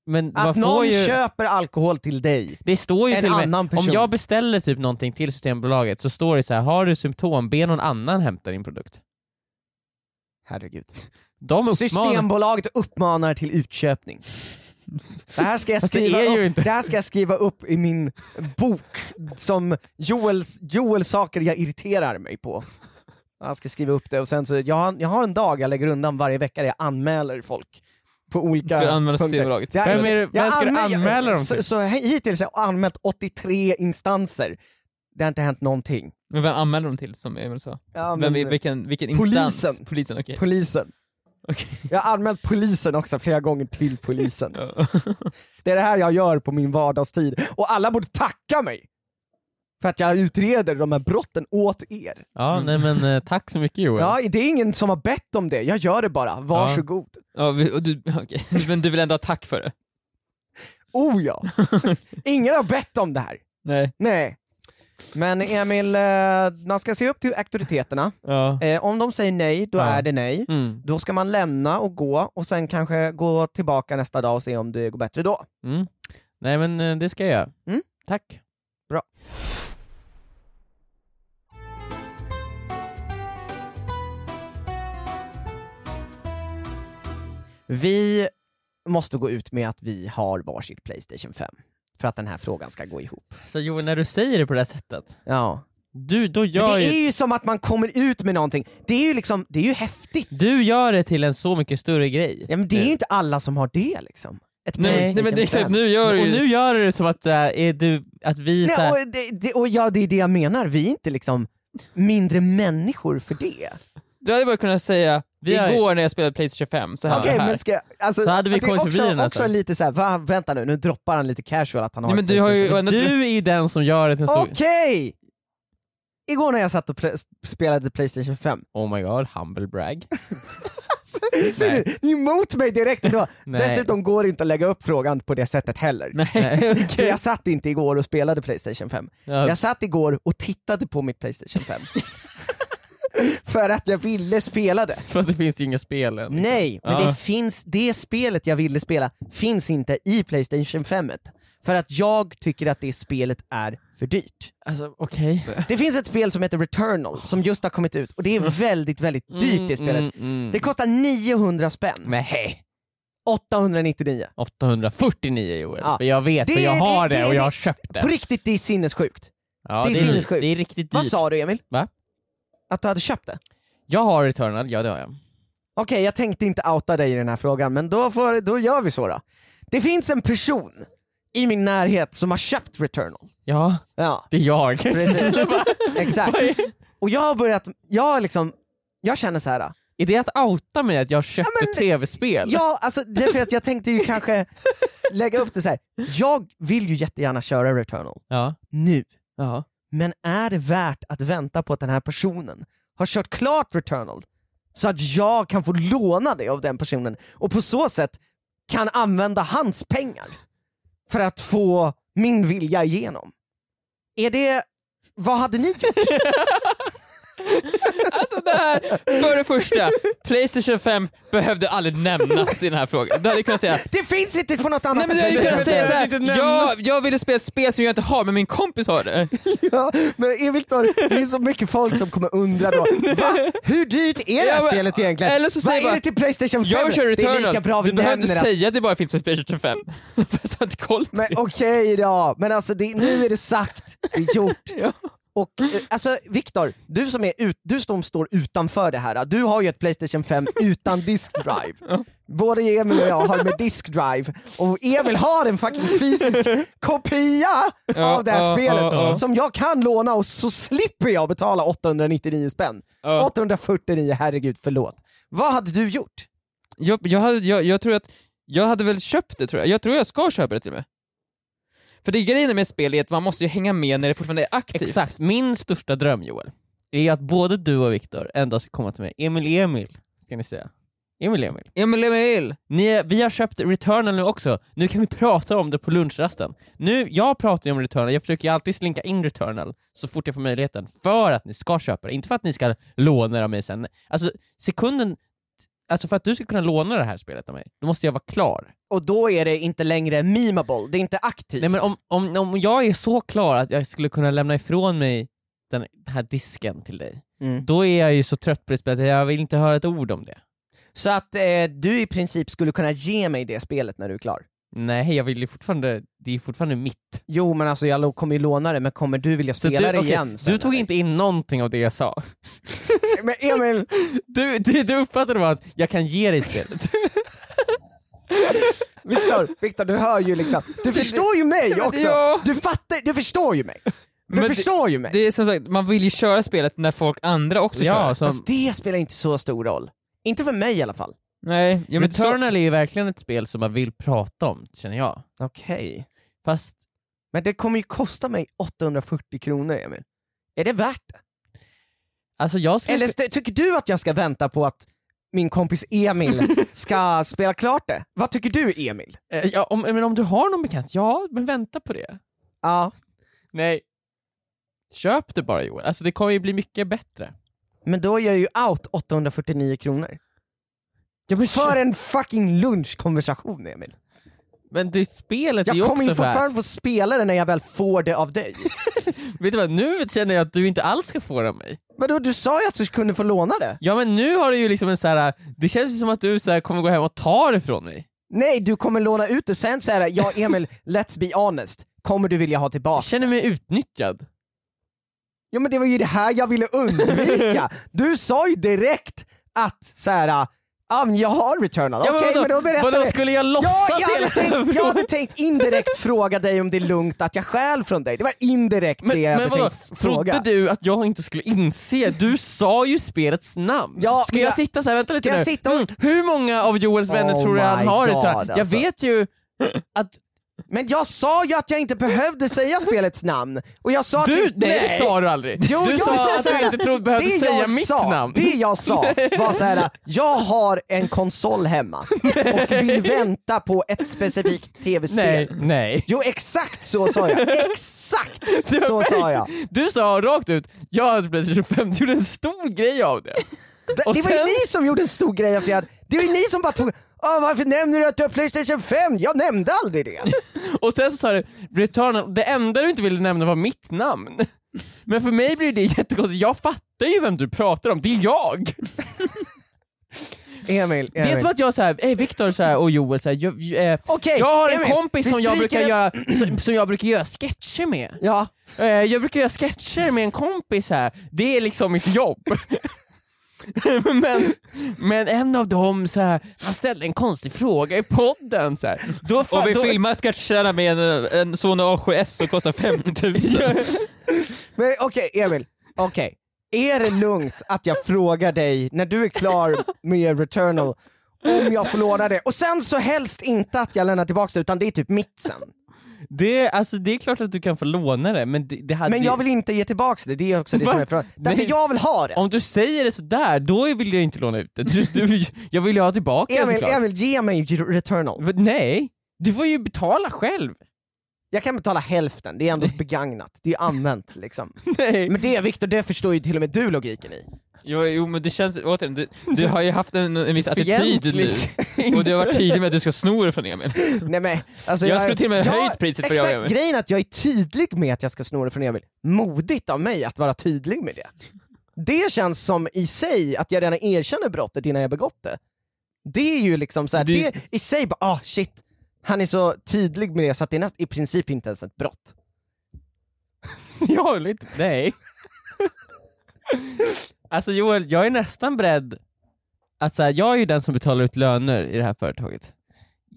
Speaker 2: Men man
Speaker 4: Att
Speaker 2: får
Speaker 4: någon
Speaker 2: ju,
Speaker 4: köper alkohol till dig.
Speaker 2: det står ju
Speaker 4: En
Speaker 2: till och
Speaker 4: annan
Speaker 2: med, om
Speaker 4: person.
Speaker 2: jag beställer typ någonting till Systembolaget så står det så här: har du symptom, be någon annan hämta din produkt.
Speaker 4: Herregud.
Speaker 2: De uppmanar...
Speaker 4: Systembolaget uppmanar till utköpning. Det här, ska jag
Speaker 2: Fast det
Speaker 4: skriva
Speaker 2: är ju
Speaker 4: upp,
Speaker 2: inte-
Speaker 4: det här ska jag skriva upp i min bok som Joel, Joel saker jag irriterar mig på. Jag ska skriva upp det och sen så, jag har, jag har en dag jag lägger undan varje vecka där jag anmäler folk
Speaker 3: Ska
Speaker 4: på olika
Speaker 3: du använda
Speaker 4: punkter.
Speaker 3: Systembolaget?
Speaker 4: Jag-
Speaker 2: Vem, är, det- vem ska du
Speaker 4: anmäl-
Speaker 2: anmäla dem
Speaker 4: så,
Speaker 2: till?
Speaker 4: så hittills har jag anmält 83 instanser. Det har inte hänt någonting.
Speaker 3: Men vem anmäler de till som Emil sa?
Speaker 4: Ja,
Speaker 3: Vem,
Speaker 4: men-
Speaker 3: är- vilken, vilken
Speaker 4: Polisen.
Speaker 3: instans? Polisen. okej.
Speaker 4: Polisen.
Speaker 3: Okej.
Speaker 4: Jag har anmält polisen också flera gånger till polisen.
Speaker 3: Ja.
Speaker 4: Det är det här jag gör på min vardagstid och alla borde tacka mig! För att jag utreder de här brotten åt er.
Speaker 2: Ja, nej
Speaker 3: Mm.
Speaker 2: men eh, tack så mycket Joel.
Speaker 4: Ja, det är ingen som har bett om det, jag gör det bara. Varsågod.
Speaker 3: Ja, vi- och du, okej. Men du vill ändå ha tack för det?
Speaker 4: Oh ja! Ingen har bett om det här.
Speaker 3: Nej.
Speaker 4: Nej. Men Emil, eh, man ska se upp till auktoriteterna.
Speaker 3: Ja.
Speaker 4: Eh, Om de säger nej, då
Speaker 2: Ja.
Speaker 4: är det nej.
Speaker 2: Mm.
Speaker 4: Då ska man lämna och gå och sen kanske gå tillbaka nästa dag och se om det går bättre då.
Speaker 2: Mm. Nej men eh, det ska jag göra.
Speaker 4: Mm.
Speaker 2: Tack.
Speaker 4: Vi måste gå ut med att vi har varsitt Playstation 5 för att den här frågan ska gå ihop.
Speaker 2: Så Joel, när du säger det på det här sättet,
Speaker 4: Ja.
Speaker 2: du, då
Speaker 4: Men
Speaker 2: gör
Speaker 4: det
Speaker 2: ju,
Speaker 4: är ju som att man kommer ut med någonting, det är ju liksom, det är ju häftigt.
Speaker 2: du gör det till en så mycket större grej.
Speaker 4: Ja, men det är ju inte alla som har det liksom. Ett
Speaker 3: Nej, men-
Speaker 4: Playstation
Speaker 3: nej men det är
Speaker 4: 5.
Speaker 3: exakt, nu gör du
Speaker 2: Och
Speaker 3: ju...
Speaker 2: nu gör du det som att, äh, är du, att vi så här,
Speaker 4: Nej, och, det, det, och ja, det är det jag menar, vi är inte liksom mindre människor för det.
Speaker 3: Du hade bara kunnat säga,
Speaker 2: Vi har-
Speaker 3: igår när jag spelade Playstation 5 så hände
Speaker 4: Okej,
Speaker 3: det här.
Speaker 4: men ska, alltså,
Speaker 2: Så hade vi
Speaker 4: det är
Speaker 2: kommit förbi
Speaker 4: också,
Speaker 2: den här
Speaker 4: också
Speaker 2: sen.
Speaker 4: lite såhär, va, vänta nu, nu droppar han lite casual att han har
Speaker 3: alltså. Nej, men
Speaker 4: ett
Speaker 3: du har
Speaker 4: Playstation 5.
Speaker 3: ju ändå...
Speaker 2: du är ju den som gör det till en stor...
Speaker 4: Okej! Igår när jag satt och pl- spelade Playstation 5,
Speaker 2: Oh my god, humble brag.
Speaker 4: ser du? Ni är emot mig direkt ändå.
Speaker 2: Nej.
Speaker 4: Dessutom går det inte att lägga upp frågan på det sättet heller.
Speaker 3: Nej.
Speaker 2: Nej,
Speaker 4: För
Speaker 2: okej.
Speaker 4: jag satt inte igår och spelade Playstation 5.
Speaker 2: Ja,
Speaker 4: Jag satt igår och tittade på mitt Playstation 5. För att jag ville spela det.
Speaker 2: för att det finns ju inga spel än.
Speaker 4: Nej, men
Speaker 2: Ja.
Speaker 4: det, finns, det spelet jag ville spela finns inte i Playstation 5. För att jag tycker att det spelet är för dyrt.
Speaker 2: Alltså okej.
Speaker 4: Det finns ett spel som heter Returnal som just har kommit ut och det är väldigt, väldigt dyrt det spelet. Det kostar 900 spänn.
Speaker 2: Mm, Men hej!
Speaker 4: 899.
Speaker 2: 849 Joel.
Speaker 4: Ja.
Speaker 2: För jag vet,
Speaker 4: Det
Speaker 2: för jag
Speaker 4: är-
Speaker 2: har
Speaker 4: det-
Speaker 2: det, och
Speaker 4: det-
Speaker 2: jag har köpt det.
Speaker 4: På riktigt, det är sinnessjukt.
Speaker 2: Ja,
Speaker 4: det är sinnessjukt.
Speaker 2: Det är riktigt
Speaker 4: Vad
Speaker 2: dyrt.
Speaker 4: sa du Emil?
Speaker 2: Va?
Speaker 4: Att du hade köpt det?
Speaker 2: Jag har Returnal, ja det har jag.
Speaker 4: Okej, jag tänkte inte outa dig i den här frågan, men då, får, då gör vi så då. Det finns en person i min närhet som har köpt Returnal.
Speaker 2: Ja,
Speaker 4: Ja,
Speaker 2: det är jag.
Speaker 4: precis. Exakt. Och jag har börjat, jag har liksom, jag känner så här.
Speaker 2: Är det att outa mig att jag köpte
Speaker 4: men-
Speaker 2: tv-spel?
Speaker 4: Ja, alltså det är för att jag tänkte ju kanske lägga upp det så här. jag vill ju jättegärna köra Returnal
Speaker 2: Ja.
Speaker 4: nu,
Speaker 2: Ja.
Speaker 4: men är det värt att vänta på att den här personen har kört klart Returnal så att jag kan få låna det av den personen och på så sätt kan använda hans pengar för att få min vilja igenom? Är det... Vad hade ni gjort?
Speaker 3: Alltså det här, för det första, Playstation 5 behövde aldrig nämnas i den här frågan. Du hade kunnat säga
Speaker 4: Det finns inte på något
Speaker 3: Nej
Speaker 4: annat
Speaker 3: men du hade ju
Speaker 4: än
Speaker 3: kunnat säga
Speaker 4: Playstation
Speaker 2: inte
Speaker 3: såhär,
Speaker 2: nämnas.
Speaker 3: jag, jag ville spela ett spel som jag inte har men min kompis har det.
Speaker 4: Ja, men eh, Viktor, det är så mycket folk som kommer undra då, va? Hur dyrt är det här
Speaker 3: Ja, men-
Speaker 4: spelet egentligen?
Speaker 3: eller så
Speaker 4: Vad
Speaker 3: säger
Speaker 4: är
Speaker 3: bara,
Speaker 4: det till Playstation 5?
Speaker 3: Jag kör
Speaker 4: det är lika bra
Speaker 3: Returnal,
Speaker 4: vi
Speaker 3: du behöver inte
Speaker 4: nämner att...
Speaker 3: säga att det bara finns på Playstation 5. Fast jag har inte koll på
Speaker 4: Men
Speaker 3: det.
Speaker 4: okej då, men alltså det, nu är det sagt, det är gjort.
Speaker 3: Ja.
Speaker 4: Och eh, alltså Viktor, du som är ut, du som står utanför det här, du har ju ett Playstation 5 utan disk drive. Både Emil och jag har med disk drive, och Emil har en fucking fysisk kopia
Speaker 3: Ja,
Speaker 4: av det här
Speaker 3: ja,
Speaker 4: spelet
Speaker 3: ja, ja.
Speaker 4: som jag kan låna och så slipper jag betala 899 spänn.
Speaker 3: Ja.
Speaker 4: 849, herregud förlåt. Vad hade du gjort?
Speaker 3: Jag, jag, hade, jag, jag tror att, jag hade väl köpt det tror jag. Jag tror jag ska köpa det till och med. För det grejen med spel är att man måste ju hänga med när det fortfarande är aktivt.
Speaker 2: Exakt, min största dröm Joel, är att både du och Viktor en dag ska komma till mig. Emil Emil, ska ni säga. Emil Emil.
Speaker 3: Emil Emil!
Speaker 2: Ni, vi har köpt Returnal nu också, nu kan vi prata om det på lunchrasten. Nu, jag pratar ju om Returnal, jag försöker ju alltid slinka in Returnal så fort jag får möjligheten, för att ni ska köpa det, inte för att ni ska låna det av mig sen. Alltså sekunden, alltså för att du ska kunna låna det här spelet av mig, då måste jag vara klar.
Speaker 4: Och då är det inte längre memeable, det är inte aktivt.
Speaker 2: Nej men om, om, om jag är så klar att jag skulle kunna lämna ifrån mig den här disken till dig,
Speaker 4: Mm.
Speaker 2: då är jag ju så trött på det spelet att jag vill inte höra ett ord om det.
Speaker 4: Så att eh, du i princip skulle kunna ge mig det spelet när du är klar?
Speaker 2: Nej, jag vill ju fortfarande, det är fortfarande mitt.
Speaker 4: Jo men alltså jag lo- kommer ju låna det, men kommer du vilja
Speaker 2: Så
Speaker 4: spela
Speaker 2: du,
Speaker 4: det
Speaker 2: okej,
Speaker 4: igen? sen,
Speaker 2: du tog
Speaker 4: eller?
Speaker 2: inte in någonting av det jag sa.
Speaker 4: Men Emil,
Speaker 2: Du, du, du uppfattade bara att jag kan ge dig spelet.
Speaker 4: Viktor, Viktor du hör ju liksom, du förstår ju mig också!
Speaker 3: Ja.
Speaker 4: Du fattar, du förstår ju mig! Du
Speaker 3: Men
Speaker 4: förstår ju mig!
Speaker 3: Det är som sagt, man vill ju köra spelet när folk andra också kör.
Speaker 2: ja, som,
Speaker 4: Fast det spelar inte så stor roll. Inte för mig i alla fall.
Speaker 3: Nej, jag men så,
Speaker 2: Returnal är ju verkligen ett spel som man vill prata om, känner jag.
Speaker 4: Okej.
Speaker 2: Fast
Speaker 4: Men det kommer ju kosta mig 840 kronor Emil. Är det värt det?
Speaker 2: alltså jag skulle...
Speaker 4: Eller st- tycker du att jag ska vänta på att min kompis Emil ska spela klart det? Vad tycker du Emil?
Speaker 2: Eh, ja, om, men om du har någon bekant, ja, men vänta på det.
Speaker 4: Ja,
Speaker 2: Nej. Köp det bara Joel, alltså det kommer ju bli mycket bättre.
Speaker 4: men då är jag ju out 849 kronor.
Speaker 2: Ja, men,
Speaker 4: För en fucking lunchkonversation Emil.
Speaker 2: men det spelet är
Speaker 4: Jag
Speaker 2: ju
Speaker 4: kommer
Speaker 2: också
Speaker 4: ju
Speaker 2: så här-
Speaker 4: fortfarande få spela det när jag väl får det av dig.
Speaker 2: Vet du vad, nu känner jag att du inte alls ska få det av mig.
Speaker 4: Vadå, du sa ju att du kunde få låna det.
Speaker 2: Ja men nu har du ju liksom en så här. det känns ju som att du så här kommer gå hem och ta det från mig.
Speaker 4: Nej, du kommer låna ut det. Sen säger jag, ja Emil, let's be honest. Kommer du vilja ha
Speaker 2: Jag
Speaker 4: tillbaka?
Speaker 2: känner mig utnyttjad.
Speaker 4: Ja men det var ju det här jag ville undvika! Du sa ju direkt att såhär, ja men jag har returnat,
Speaker 2: Ja,
Speaker 4: okej
Speaker 2: vadå?
Speaker 4: men då berättar
Speaker 2: vadå,
Speaker 4: vi.
Speaker 2: skulle jag låtsas
Speaker 4: Ja, jag, hade
Speaker 2: hela
Speaker 4: tänkt, jag hade tänkt indirekt fråga dig om det är lugnt att jag stjäl från dig, det var indirekt
Speaker 2: Men,
Speaker 4: det jag
Speaker 2: men
Speaker 4: hade
Speaker 2: vadå,
Speaker 4: tänkt f- fråga.
Speaker 2: trodde du att jag inte skulle inse? Du sa ju spelets namn.
Speaker 4: Ja,
Speaker 2: ska
Speaker 4: men
Speaker 2: jag,
Speaker 4: jag-
Speaker 2: sitta så här, vänta
Speaker 4: Ska
Speaker 2: lite
Speaker 4: jag
Speaker 2: nu.
Speaker 4: sitta och-
Speaker 2: Mm, hur många av Joels vänner
Speaker 4: Oh
Speaker 2: tror du han
Speaker 4: my
Speaker 2: har i
Speaker 4: God,
Speaker 2: Twitter? Jag
Speaker 4: alltså.
Speaker 2: vet ju att
Speaker 4: Men jag sa ju att jag inte behövde säga spelets namn, och jag sa
Speaker 2: du,
Speaker 4: att du,
Speaker 2: nej, det sa du aldrig.
Speaker 4: Jo,
Speaker 2: du
Speaker 4: jag sa
Speaker 2: sa att
Speaker 4: så här,
Speaker 2: du inte trodde behövde
Speaker 4: det
Speaker 2: säga
Speaker 4: jag
Speaker 2: mitt
Speaker 4: sa,
Speaker 2: namn.
Speaker 4: Det jag sa var så här: jag har en konsol hemma och vill vänta på ett specifikt tv-spel.
Speaker 2: nej, nej.
Speaker 4: Jo exakt så sa jag, exakt
Speaker 2: var
Speaker 4: så sa
Speaker 2: verkligen-
Speaker 4: jag.
Speaker 2: Du sa rakt ut, jag hade Playstation 5, du gjorde en stor grej av det.
Speaker 4: Det,
Speaker 2: Och
Speaker 4: det var ju
Speaker 2: sen-
Speaker 4: ni som gjorde en stor grej av det här. Det var ju ni som bara tog, Åh, varför nämner du att du har Playstation 5? Jag nämnde aldrig det.
Speaker 2: Och sen så sa du Returnal, det enda du inte ville nämna var mitt namn. Men för mig blir det jättekonstigt, jag fattar ju vem du pratar om, det är jag!
Speaker 4: Emil,
Speaker 2: Det
Speaker 4: Emil.
Speaker 2: är som att jag såhär, hey, Viktor så här, och Joel såhär, jag, jag, eh,
Speaker 4: Okej,
Speaker 2: jag har en
Speaker 4: Emil,
Speaker 2: kompis
Speaker 4: vi
Speaker 2: som jag,
Speaker 4: stryker
Speaker 2: brukar
Speaker 4: ett-
Speaker 2: göra, som, som jag brukar göra sketcher med.
Speaker 4: Ja,
Speaker 2: Eh, jag brukar göra sketcher med en kompis här, det är liksom mitt jobb. men, men en av dem så här, han ställde en konstig fråga i podden. Så här. Då, fa-
Speaker 3: Och vi
Speaker 2: då,
Speaker 3: filmar sketcherna med en, en Sony A7S som kostar 50 000.
Speaker 4: men okej Emil. Okej. Är det lugnt att jag frågar dig när du är klar med Returnal om jag får låna det? Och sen så helst inte att jag lämnar tillbaka det utan det är typ mitt sen.
Speaker 2: det, alltså, det är klart att du kan få låna det, men det, det hade
Speaker 4: Men
Speaker 2: ju-
Speaker 4: jag vill inte ge tillbaka det, det är också det
Speaker 2: Va?
Speaker 4: som är frågan. Därför
Speaker 2: Nej.
Speaker 4: jag vill ha det.
Speaker 2: Om du säger det sådär, då vill jag inte låna ut det. Du, du, jag vill ju ha tillbaka det
Speaker 4: Emil,
Speaker 2: såklart.
Speaker 4: Emil, ge mig Returnal.
Speaker 2: Men Nej, du får ju betala själv.
Speaker 4: Jag kan betala hälften, det är ändå begagnat, det är använt liksom.
Speaker 2: Nej.
Speaker 4: Men det Viktor, det förstår ju till och med du logiken i.
Speaker 3: Jo, jo men det känns, återigen, du, du har ju haft en, en viss attityd nu.
Speaker 2: Fientlig.
Speaker 3: Och du har varit tydlig med att du ska sno det från Emil.
Speaker 4: Nej, men, alltså,
Speaker 3: Jag skulle till och med
Speaker 4: jag-
Speaker 3: höjt priset för jag och
Speaker 4: Exakt,
Speaker 3: Emil.
Speaker 4: grejen är att jag är tydlig med att jag ska sno det från Emil. Modigt av mig att vara tydlig med det. Det känns som i sig att jag redan erkänner brottet innan jag begått det. Det är ju liksom så här, det...
Speaker 3: Det-
Speaker 4: i sig bara, ah shit, han är så tydlig med det så att det är näst, i princip inte ens ett brott.
Speaker 2: Jag håller inte Nej. alltså Joel, jag är nästan beredd att så här, jag är ju den som betalar ut löner i det här företaget.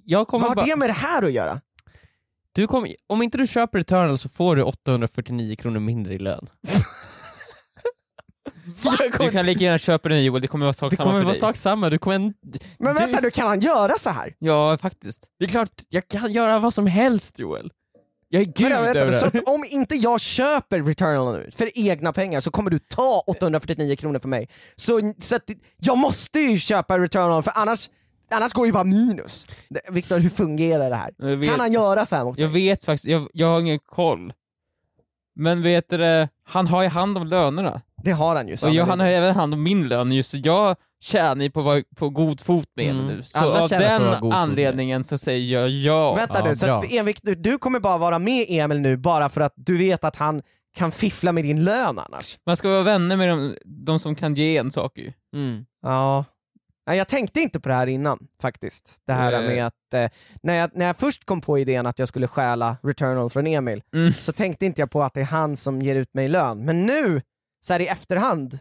Speaker 2: Jag
Speaker 4: Vad
Speaker 2: kommer
Speaker 4: har
Speaker 2: bara,
Speaker 4: det med det här att göra?
Speaker 2: du kommer, om inte du köper Returnal så får du 849 kronor mindre i lön. Jag
Speaker 3: Du
Speaker 2: kommer,
Speaker 3: kan lika gärna köpa den Joel, det kommer vara sak
Speaker 2: det
Speaker 3: samma
Speaker 2: kommer
Speaker 3: för
Speaker 2: vara
Speaker 3: dig.
Speaker 2: sak samma, du kommer en,
Speaker 4: Men
Speaker 2: Du-
Speaker 4: vänta nu, kan han göra så här?
Speaker 3: Ja, faktiskt.
Speaker 2: Det är klart, jag kan göra vad som helst Joel. Jag är gud
Speaker 4: Vänta, vänta,
Speaker 2: över det
Speaker 4: så
Speaker 2: här.
Speaker 4: att om inte jag köper Returnal nu för egna pengar så kommer du ta 849 kronor för mig. Så, så att, jag måste ju köpa Returnal för annars, annars går ju bara minus. Det- Viktor, hur fungerar det här?
Speaker 3: Jag vet,
Speaker 4: Kan han göra så här mot
Speaker 3: jag vet faktiskt, jag, jag har ingen koll. Men vet du det, han har ju hand om lönerna.
Speaker 4: Det har han ju.
Speaker 3: Och jag, han har
Speaker 4: sannolikt.
Speaker 3: ju även hand om min lön just så jag tjänar ju på att vara på god fot med henne
Speaker 2: Mm.
Speaker 3: nu. Så
Speaker 2: Alla
Speaker 3: av
Speaker 2: tjänar på att vara
Speaker 3: den
Speaker 2: god fot med.
Speaker 3: anledningen så säger jag ja.
Speaker 4: Vänta
Speaker 2: Ja,
Speaker 4: nu, så
Speaker 2: bra.
Speaker 4: att, Emil, du, du kommer bara vara med Emil nu bara för att du vet att han kan fiffla med din lön annars.
Speaker 3: Man ska vara vänner med de, de som kan ge en saker ju.
Speaker 2: Mm.
Speaker 4: Ja. Nej, jag tänkte inte på det här innan faktiskt. Det här
Speaker 3: Nej.
Speaker 4: med att, eh, när, jag, när jag först kom på idén att jag skulle stjäla Returnal från Emil,
Speaker 3: Mm.
Speaker 4: så tänkte inte jag på att det är han som ger ut mig lön. Men nu, så här i efterhand,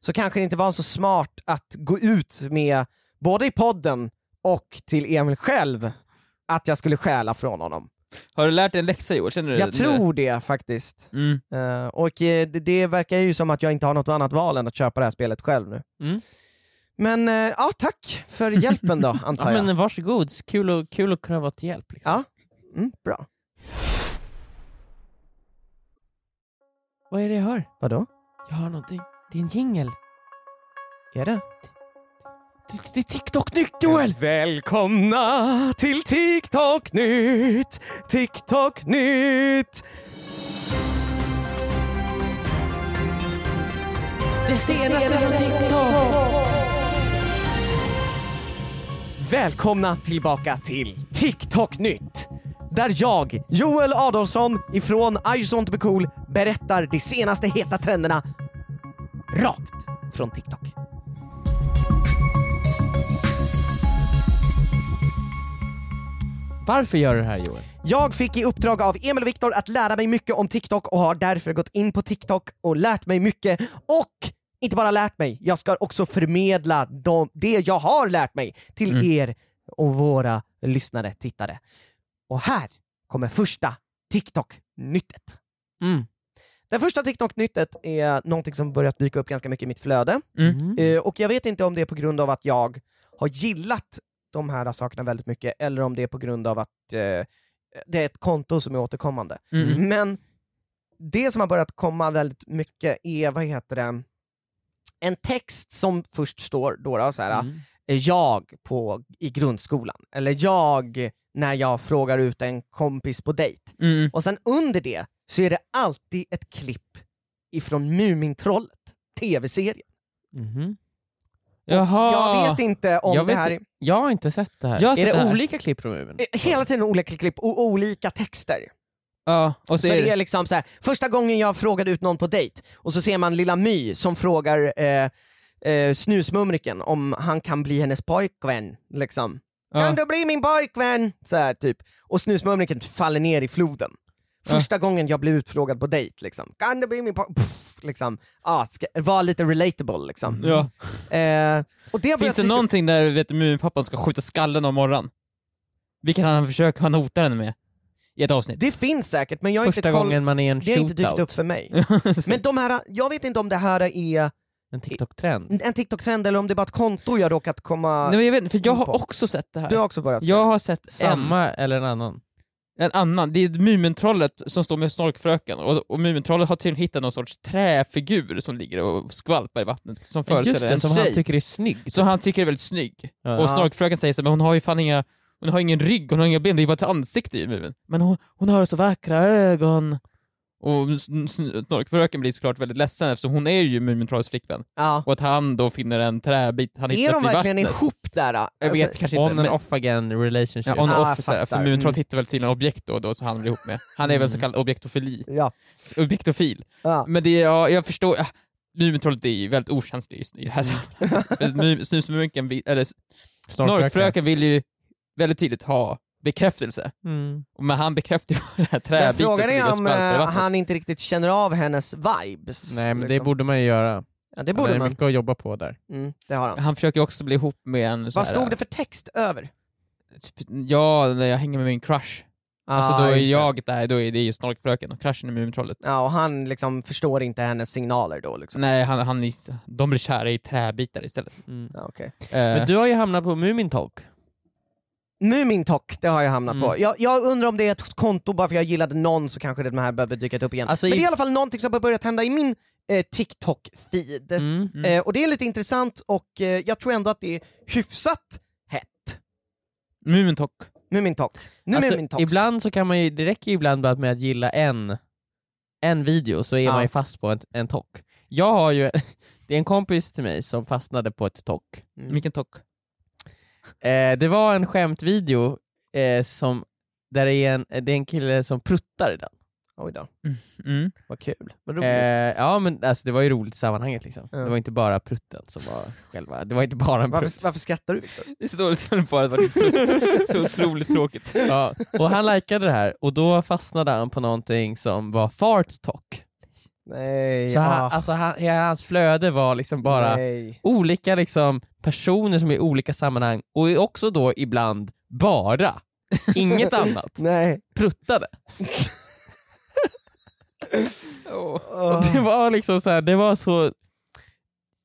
Speaker 4: så kanske det inte var så smart att gå ut med, både i podden och till Emil själv, att jag skulle stjäla från honom.
Speaker 3: Har du lärt dig en läxa Joel?
Speaker 2: Eh,
Speaker 3: Känner du
Speaker 4: Jag
Speaker 3: det?
Speaker 4: tror det faktiskt.
Speaker 3: Mm.
Speaker 4: Eh, och eh, det, det verkar ju som att jag inte har något annat val än att köpa det här spelet själv nu.
Speaker 2: Mm.
Speaker 4: Men eh, ja, tack för hjälpen då,
Speaker 2: Ja,
Speaker 4: antar jag.
Speaker 2: men eh, varsågod, kul, och, kul att kunna vara till hjälp. Liksom.
Speaker 4: Ja. Mm, bra.
Speaker 2: Vad är det jag hör?
Speaker 4: Vadå?
Speaker 2: Jag hör någonting. Det är en jingel.
Speaker 4: Är det?
Speaker 2: Det, det är TikTok-nytt Joel!
Speaker 4: Välkomna till TikTok-nytt! TikTok-nytt!
Speaker 2: Det senaste från TikTok!
Speaker 4: Välkomna tillbaka till TikTok-nytt! Där jag, Joel Adolfsson ifrån I just want to be cool, berättar de senaste heta trenderna rakt från TikTok.
Speaker 2: Varför gör du det här Joel?
Speaker 4: Jag fick i uppdrag av Emil och Viktor att lära mig mycket om TikTok och har därför gått in på TikTok och lärt mig mycket och inte bara lärt mig, jag ska också förmedla de, det jag har lärt mig till er och våra lyssnare, tittare. Och här kommer första TikTok-nyttet.
Speaker 2: Mm.
Speaker 4: Det första TikTok-nyttet är någonting som börjat dyka upp ganska mycket i mitt flöde.
Speaker 3: Mm.
Speaker 4: Eh, och jag vet inte om det är på grund av att jag har gillat de här sakerna väldigt mycket, eller om det är på grund av att eh, det är ett konto som är återkommande.
Speaker 3: Mm.
Speaker 4: Men det som har börjat komma väldigt mycket är, vad heter det, en text som först står då, då så här,
Speaker 2: Mm.
Speaker 4: eh, jag på, i grundskolan, eller jag när jag frågar ut en kompis på dejt.
Speaker 3: Mm.
Speaker 4: Och sen under det så är det alltid ett klipp ifrån Mumintrollet, tv-serien.
Speaker 2: Mhm.
Speaker 3: Jaha.
Speaker 4: Jag vet inte om
Speaker 2: Jag
Speaker 4: det
Speaker 2: vet
Speaker 4: här...
Speaker 2: inte. Jag har inte sett det här.
Speaker 3: Jag har
Speaker 2: är
Speaker 3: sett
Speaker 2: det,
Speaker 3: det här.
Speaker 2: olika klipp från muren?
Speaker 4: det är Hela tiden olika klipp och olika texter.
Speaker 3: Ja, och så,
Speaker 4: Så
Speaker 3: är
Speaker 4: det är
Speaker 3: det...
Speaker 4: liksom så här, första gången jag frågade ut någon på dejt, och så ser man lilla My som frågar eh, eh, Snusmumriken om han kan bli hennes pojkvän. Liksom. Kan
Speaker 3: Ja.
Speaker 4: du bli min pojkvän? Så här, typ. Och Snusmumriken faller ner i floden. Första gången jag blev utfrågad på dejt, liksom. kan du bli min pojkvän? Liksom. Ah, ska, var lite relatable liksom.
Speaker 3: Ja.
Speaker 4: Eh, och det har
Speaker 3: Finns
Speaker 4: börjat
Speaker 3: det
Speaker 4: dyka-
Speaker 3: någonting där vet du, Muminpappan ska skjuta skallen av morgonen? Vilket han försöker, han hotar henne med. I ett avsnitt.
Speaker 4: Det finns säkert, men jag har
Speaker 2: Första
Speaker 4: inte koll...
Speaker 2: gången man är en
Speaker 4: Det har inte dykt upp
Speaker 2: shootout.
Speaker 4: för mig. Men de här, jag vet inte om det här är
Speaker 2: En TikTok-trend.
Speaker 4: en TikTok-trend eller om det är bara ett konto jag råkat komma...
Speaker 3: Nej, men jag vet inte, för jag har också sett det
Speaker 4: du
Speaker 3: här.
Speaker 4: har också börjat?
Speaker 3: Jag har sett en,
Speaker 2: Samma eller en annan?
Speaker 3: en annan, det är Mumintrollet som står med Snorkfröken och, och Mumintrollet har tydligen hittat någon sorts träfigur som ligger och skvalpar i vattnet som föreställer
Speaker 2: Just det,
Speaker 3: en
Speaker 2: som
Speaker 3: tjej.
Speaker 2: han tycker är snygg.
Speaker 3: som han tycker är väldigt snygg.
Speaker 2: Ja.
Speaker 3: Och Snorkfröken säger så här, men hon har ju fan inga, hon har ingen rygg, hon har inga ben, det är bara ett ansikte i Mumin. Men hon, hon har så vackra ögon. Och sn- sn- Snorkfröken blir såklart väldigt ledsen eftersom hon är ju Mumintrollets flickvän.
Speaker 4: ja.
Speaker 3: Och att han då finner en träbit han
Speaker 4: Är
Speaker 3: hittat
Speaker 4: de
Speaker 3: i vattnet.
Speaker 4: verkligen ihop där? Alltså,
Speaker 3: Jag vet kanske
Speaker 2: On
Speaker 3: inte.
Speaker 2: and
Speaker 3: men-
Speaker 2: off again relationship.
Speaker 3: Ja, on
Speaker 4: Ah, jag
Speaker 3: off, så här, för
Speaker 4: fattar.
Speaker 3: Mumintrollet hittar väl tydligen objekt då och då så han blir ihop med. Han är väl så kallad objektofili.
Speaker 4: Ja.
Speaker 3: Objektofil.
Speaker 4: Ja.
Speaker 3: Men det, är- ja, jag förstår. ah, Ja, Mumintrollet är ju väldigt okänslig just nu i det här sammanhanget. För Mu- Snusmumriken vill- eller Snorkfröken vill ju väldigt tydligt ha bekräftelse.
Speaker 2: Mm.
Speaker 3: Men han bekräftar ju bara den här
Speaker 4: Men
Speaker 3: träbiten som
Speaker 4: frågan
Speaker 3: ligger
Speaker 4: är
Speaker 3: och
Speaker 4: om
Speaker 3: skvalpar i
Speaker 4: eh,
Speaker 3: vattnet.
Speaker 4: han inte riktigt känner av hennes vibes.
Speaker 2: Nej men det
Speaker 4: liksom.
Speaker 2: borde man ju göra.
Speaker 4: ja, det borde
Speaker 2: det är
Speaker 4: man.
Speaker 2: mycket att jobba på där.
Speaker 4: Mm, det har han.
Speaker 3: Han försöker ju också bli ihop med en så
Speaker 4: Vad
Speaker 3: här,
Speaker 4: stod det för text över?
Speaker 3: Typ, ja, när jag hänger med min crush. alltså
Speaker 4: Ah,
Speaker 3: då är
Speaker 4: just det.
Speaker 3: jag där, då är det ju Snorkfröken och crushen är Mumintrollet.
Speaker 4: Ja, och han liksom förstår inte hennes signaler då liksom.
Speaker 3: Nej, han, han, är- de blir kära i träbitar istället.
Speaker 2: Mm.
Speaker 4: Ja, okej.
Speaker 2: Men
Speaker 3: Eh,
Speaker 2: du har ju hamnat på Mumintalk.
Speaker 4: Eh, Mumintok, det har jag hamnat
Speaker 2: Mm.
Speaker 4: på. Jag, jag undrar om det är ett konto bara för jag gillade någon så kanske det här börjar dyka upp igen.
Speaker 2: Alltså,
Speaker 4: Men
Speaker 2: i-
Speaker 4: det är i alla fall någonting som har börjat hända i min eh, TikTok-feed.
Speaker 2: Mm.
Speaker 3: Mm.
Speaker 4: Eh, och det är lite intressant och eh, jag tror ändå att det är hyfsat hett.
Speaker 3: Mumintok.
Speaker 4: Mumintok. Nu
Speaker 2: Alltså,
Speaker 4: Mumintox.
Speaker 2: ibland så kan man ju, det räcker ju ibland bara med att gilla en, en video så är
Speaker 4: Ja.
Speaker 2: man ju fast på en, en tock. Jag har ju, det är en kompis till mig som fastnade på ett tock.
Speaker 4: Mm.
Speaker 3: Vilken tock?
Speaker 2: Eh, det var en skämtvideo eh, som, där det är, en, det är en kille som pruttar i den.
Speaker 4: Oj då,
Speaker 3: Mm.
Speaker 4: vad kul. Vad roligt.
Speaker 2: Eh, ja men alltså, det var ju roligt i sammanhanget liksom.
Speaker 4: Ja.
Speaker 2: Det var inte bara prutten som var själva, det var inte bara en prutt.
Speaker 4: varför, varför skrattar du Viktor?
Speaker 3: Det är så dåligt för bara varit Så otroligt tråkigt.
Speaker 2: Ja, och han likade det här och då fastnade han på någonting som var fart talk.
Speaker 4: Nej.
Speaker 2: Så
Speaker 4: ah,
Speaker 2: han, alltså han, hela hans flöde var liksom bara
Speaker 4: Nej.
Speaker 2: olika liksom, personer som är i olika sammanhang och är också då ibland bara, inget annat,
Speaker 4: Nej.
Speaker 2: pruttade. Och
Speaker 4: Åh.
Speaker 2: det var liksom så här, det var så...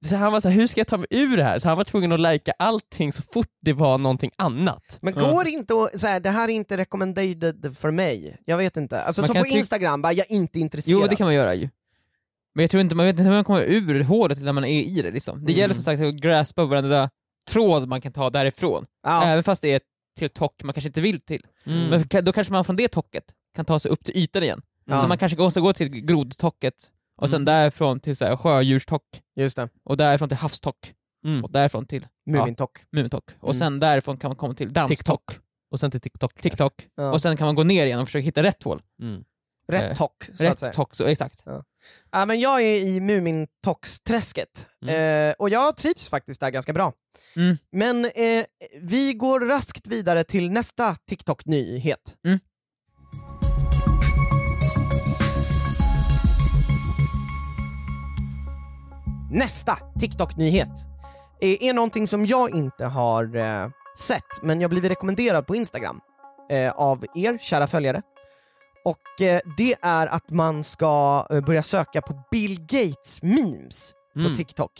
Speaker 2: Så han var så här, hur ska jag ta mig ur det här? Så han var tvungen att lajka allting så fort det var någonting annat.
Speaker 4: Men går det inte att, så här, det här är inte recommended för mig. Jag vet inte. Alltså
Speaker 3: Man
Speaker 4: som
Speaker 3: kan
Speaker 4: på
Speaker 3: ty-
Speaker 4: Instagram, bara, jag är inte intresserad.
Speaker 3: Jo, det kan man göra ju. Men jag tror inte, man vet inte hur man kommer ur håret när man är i det liksom. Det gäller som sagt att graspa varenda tråd man kan ta därifrån.
Speaker 2: eh, alltså
Speaker 4: ja.
Speaker 3: Även fast det är till tock man kanske inte vill till.
Speaker 2: Mm.
Speaker 3: Men ka- då kanske man från det tocket kan ta sig upp till ytan igen.
Speaker 4: Ja.
Speaker 3: Så man kanske måste gå till grodtocket och sen
Speaker 2: Mm.
Speaker 3: därifrån till så här sjödjurstock
Speaker 4: Just det.
Speaker 3: och därifrån till havstock
Speaker 2: Mm.
Speaker 3: och därifrån till
Speaker 4: Mumintok.
Speaker 3: mumintock och
Speaker 4: Mm.
Speaker 3: sen därifrån kan man komma till danstock,
Speaker 2: TikTok. Och sen till TikTok.
Speaker 3: tiktok
Speaker 4: Ja.
Speaker 3: och sen kan man gå ner igen och försöka hitta rätt hål.
Speaker 2: Mm.
Speaker 4: Rätt
Speaker 3: eh,
Speaker 4: tok, så att säga.
Speaker 3: Rätt tock, så, exakt.
Speaker 4: Ja, men jag är i Mumintox-träsket eh, och jag trivs faktiskt där ganska bra.
Speaker 3: Mm.
Speaker 4: Men eh, vi går raskt vidare till nästa TikTok-nyhet.
Speaker 3: Mm.
Speaker 4: Nästa TikTok-nyhet Eh, är, är någonting som jag inte har eh, sett, men jag blivit rekommenderad på Instagram eh, av er kära följare. Och eh, det är att man ska eh, börja söka på Bill Gates memes
Speaker 2: Mm.
Speaker 4: på TikTok.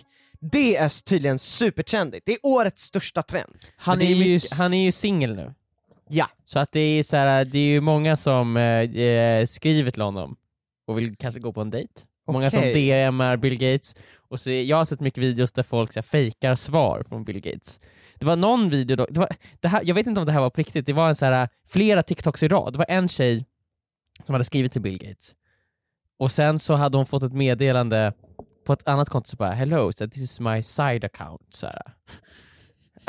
Speaker 4: Det är tydligen supertrendigt. Det är årets största trend.
Speaker 3: Han
Speaker 2: Men det
Speaker 3: är, ju...
Speaker 2: mycket- han är ju singel nu.
Speaker 4: Ja.
Speaker 2: Så att det är så här, det är ju många som eh, eh, skriver till honom och vill kanske gå på en dejt. Många som
Speaker 4: Okej.
Speaker 2: DMar Bill Gates. Och så, jag har sett mycket videos där folk så här, fejkar svar från Bill Gates. Det var någon video, då, det var, det här, jag vet inte om det här var på riktigt, det var en så här, flera TikToks i rad. Det var en tjej som hade skrivit till Bill Gates och sen så hade hon fått ett meddelande på ett annat konto så bara “Hello, so this is my side account”. Så här.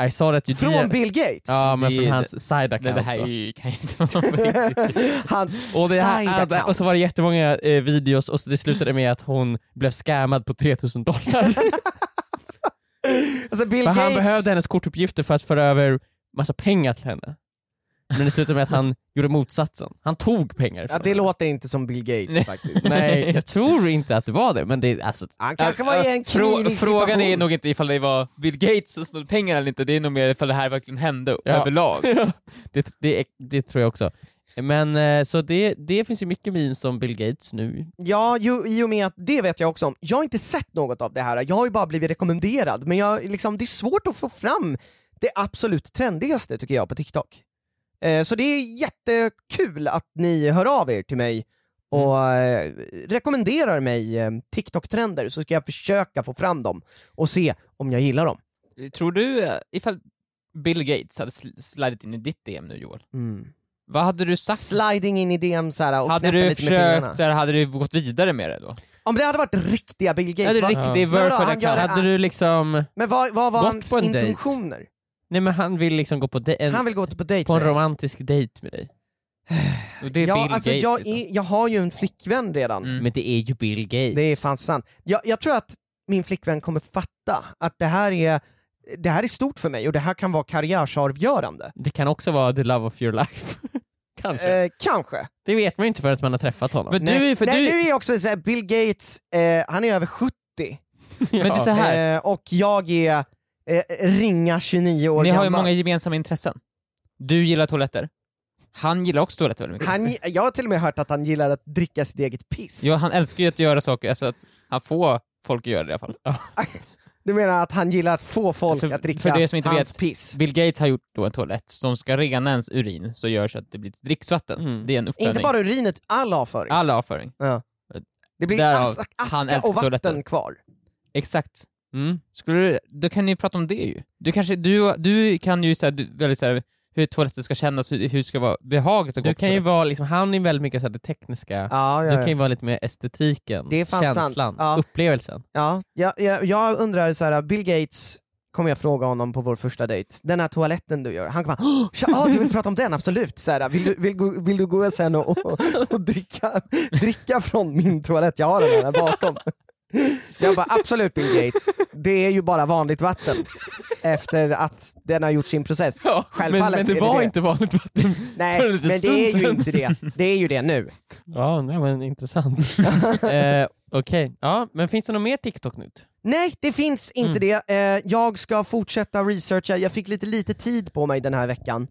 Speaker 2: I saw that you
Speaker 4: Från
Speaker 2: DM
Speaker 4: Bill Gates?
Speaker 2: Ja, men
Speaker 3: Det-
Speaker 2: från hans side account.
Speaker 3: Nej, det här är
Speaker 2: då.
Speaker 3: ju, kan ju inte vara på riktigt.
Speaker 4: Hans
Speaker 2: Och, det
Speaker 4: side
Speaker 2: här, äh, alltså,
Speaker 4: account.
Speaker 2: och så var det jättemånga eh, videos och så det slutade med att hon blev scammad på 3000 dollar.
Speaker 4: alltså Bill
Speaker 2: för han
Speaker 4: Gates...
Speaker 2: behövde hennes kortuppgifter för att föra över massa pengar till henne. Men det slutade med att han gjorde motsatsen. Han tog pengar
Speaker 4: ja,
Speaker 2: ifrån
Speaker 4: det låter inte som Bill Gates faktiskt.
Speaker 2: henne. Nej, jag tror inte att det var det, men det, alltså,
Speaker 4: Han kanske var i en
Speaker 3: Frå-
Speaker 4: knivig
Speaker 3: Frågan är
Speaker 4: situation.
Speaker 3: nog inte ifall det var Bill Gates som snodde pengar eller inte, det är nog mer ifall det här verkligen hände
Speaker 2: Ja.
Speaker 3: överlag.
Speaker 2: det, det, det tror jag också. Men eh, så det, det finns ju mycket memes om Bill Gates nu.
Speaker 4: Ja, ju, i och med att det vet jag också om. Jag har inte sett något av det här, jag har ju bara blivit rekommenderad. Men jag, liksom, det är svårt att få fram det absolut trendigaste tycker jag på TikTok. Eh, så det är jättekul att ni hör av er till mig och eh, rekommenderar mig eh, TikTok-trender så ska jag försöka få fram dem och se om jag gillar dem.
Speaker 3: Tror du, eh, ifall Bill Gates hade sl- slidit in i ditt DM nu Joel,
Speaker 4: Mm.
Speaker 3: vad hade du sagt?
Speaker 4: Sliding in i DM så här och
Speaker 3: hade
Speaker 4: knäppa
Speaker 3: du
Speaker 4: lite med fingrarna.
Speaker 3: försökt, så här, hade du gått vidare med det då?
Speaker 4: Om det hade varit riktiga Bill
Speaker 3: Ja,
Speaker 4: Gates,
Speaker 3: det är
Speaker 4: va?
Speaker 3: riktigt, det är
Speaker 4: Men vadå,
Speaker 3: varför
Speaker 4: han
Speaker 3: det
Speaker 4: gör
Speaker 3: kan...
Speaker 4: det-
Speaker 2: Hade du liksom...
Speaker 4: men vad, vad var
Speaker 2: Gått
Speaker 4: hans
Speaker 2: på en dejt.
Speaker 4: intentioner?
Speaker 2: Nej men han vill liksom gå på, de- en,
Speaker 4: Han vill gå på dejt
Speaker 2: på en
Speaker 4: med dig.
Speaker 2: romantisk dejt med dig.
Speaker 3: Och det är
Speaker 4: ja,
Speaker 3: Bill
Speaker 4: alltså,
Speaker 3: Gates
Speaker 4: jag,
Speaker 3: liksom.
Speaker 4: är, jag har ju en flickvän redan.
Speaker 3: Mm.
Speaker 2: Men det är ju Bill Gates.
Speaker 4: Det är fan sant. Jag, jag tror att min flickvän kommer fatta att det här är det här är stort för mig och det här kan vara karriärsavgörande.
Speaker 2: Det kan också vara the love of your life. Kanske.
Speaker 4: Eh, kanske.
Speaker 2: det vet man ju inte förrän man har träffat honom.
Speaker 3: Men du
Speaker 4: nej,
Speaker 3: är- för
Speaker 4: nej,
Speaker 3: du-
Speaker 4: nu är jag också så här, Bill Gates, eh, han är över 70
Speaker 3: Men det är så här,
Speaker 4: eh, och jag är eh, ringa 29 år
Speaker 3: ni har ju
Speaker 4: gammal.
Speaker 3: många gemensamma intressen. Du gillar toaletter. Han gillar också toaletter väldigt mycket.
Speaker 4: Han, jag har till och med hört att han gillar att dricka sitt eget piss.
Speaker 3: Ja, han älskar ju att göra saker, alltså att han får folk att göra det i alla fall.
Speaker 4: Du menar att han gillar att få folk
Speaker 3: Alltså,
Speaker 4: att dricka
Speaker 3: för det som inte
Speaker 4: hans
Speaker 3: vet-
Speaker 4: piss?
Speaker 3: Bill Gates har gjort då en toalett som ska rena ens urin, så görs att det blir ett dricksvatten.
Speaker 2: Mm.
Speaker 3: Det är en uppvärmning.
Speaker 4: Inte bara urinet, all avföring.
Speaker 3: All avföring.
Speaker 4: det blir
Speaker 3: därav
Speaker 4: as
Speaker 3: han
Speaker 4: aska
Speaker 3: älskar
Speaker 4: och vatten
Speaker 3: toaletter.
Speaker 4: kvar.
Speaker 3: Exakt.
Speaker 2: Mm.
Speaker 3: Skulle du, då kan ni prata om det ju. Du, kanske, du, du kan ju säga du- väldigt så här, hur toaletten ska kännas, hur, hur det ska vara behagligt att gå
Speaker 2: Du
Speaker 3: på
Speaker 2: kan ju
Speaker 3: toaletten.
Speaker 2: vara liksom, han är väldigt mycket så här det tekniska.
Speaker 4: Ja,
Speaker 2: Du
Speaker 4: ja,
Speaker 2: kan ju
Speaker 4: ja.
Speaker 2: vara lite mer estetiken,
Speaker 4: Det är fan
Speaker 2: känslan,
Speaker 4: sant. Ja.
Speaker 2: upplevelsen.
Speaker 4: ja jag, jag, jag undrar så här, Bill Gates kommer jag fråga honom på vår första dejt, den här toaletten du gör, han kommer bara "Åh, tja, ja du vill prata om den, absolut! Så här, vill, du, vill, gå- vill du gå sen och, och, och dricka, dricka från min toalett? Jag har den här bakom. Jag bara absolut Bill Gates, det är ju bara vanligt vatten efter att den har gjort sin process. Självfallet
Speaker 2: men, men det
Speaker 4: är
Speaker 2: var
Speaker 4: det.
Speaker 2: inte vanligt vatten. för en
Speaker 4: Nej,
Speaker 2: liten
Speaker 4: men det är
Speaker 2: stund
Speaker 4: ju
Speaker 2: sedan.
Speaker 4: inte det. Det är ju det nu.
Speaker 2: Ja, nej, men intressant. eh, Okej, ja, men finns det något mer TikTok nytt?
Speaker 4: Nej, det finns inte
Speaker 3: Mm.
Speaker 4: det. Eh, jag ska fortsätta researcha. Jag fick lite lite tid på mig den här veckan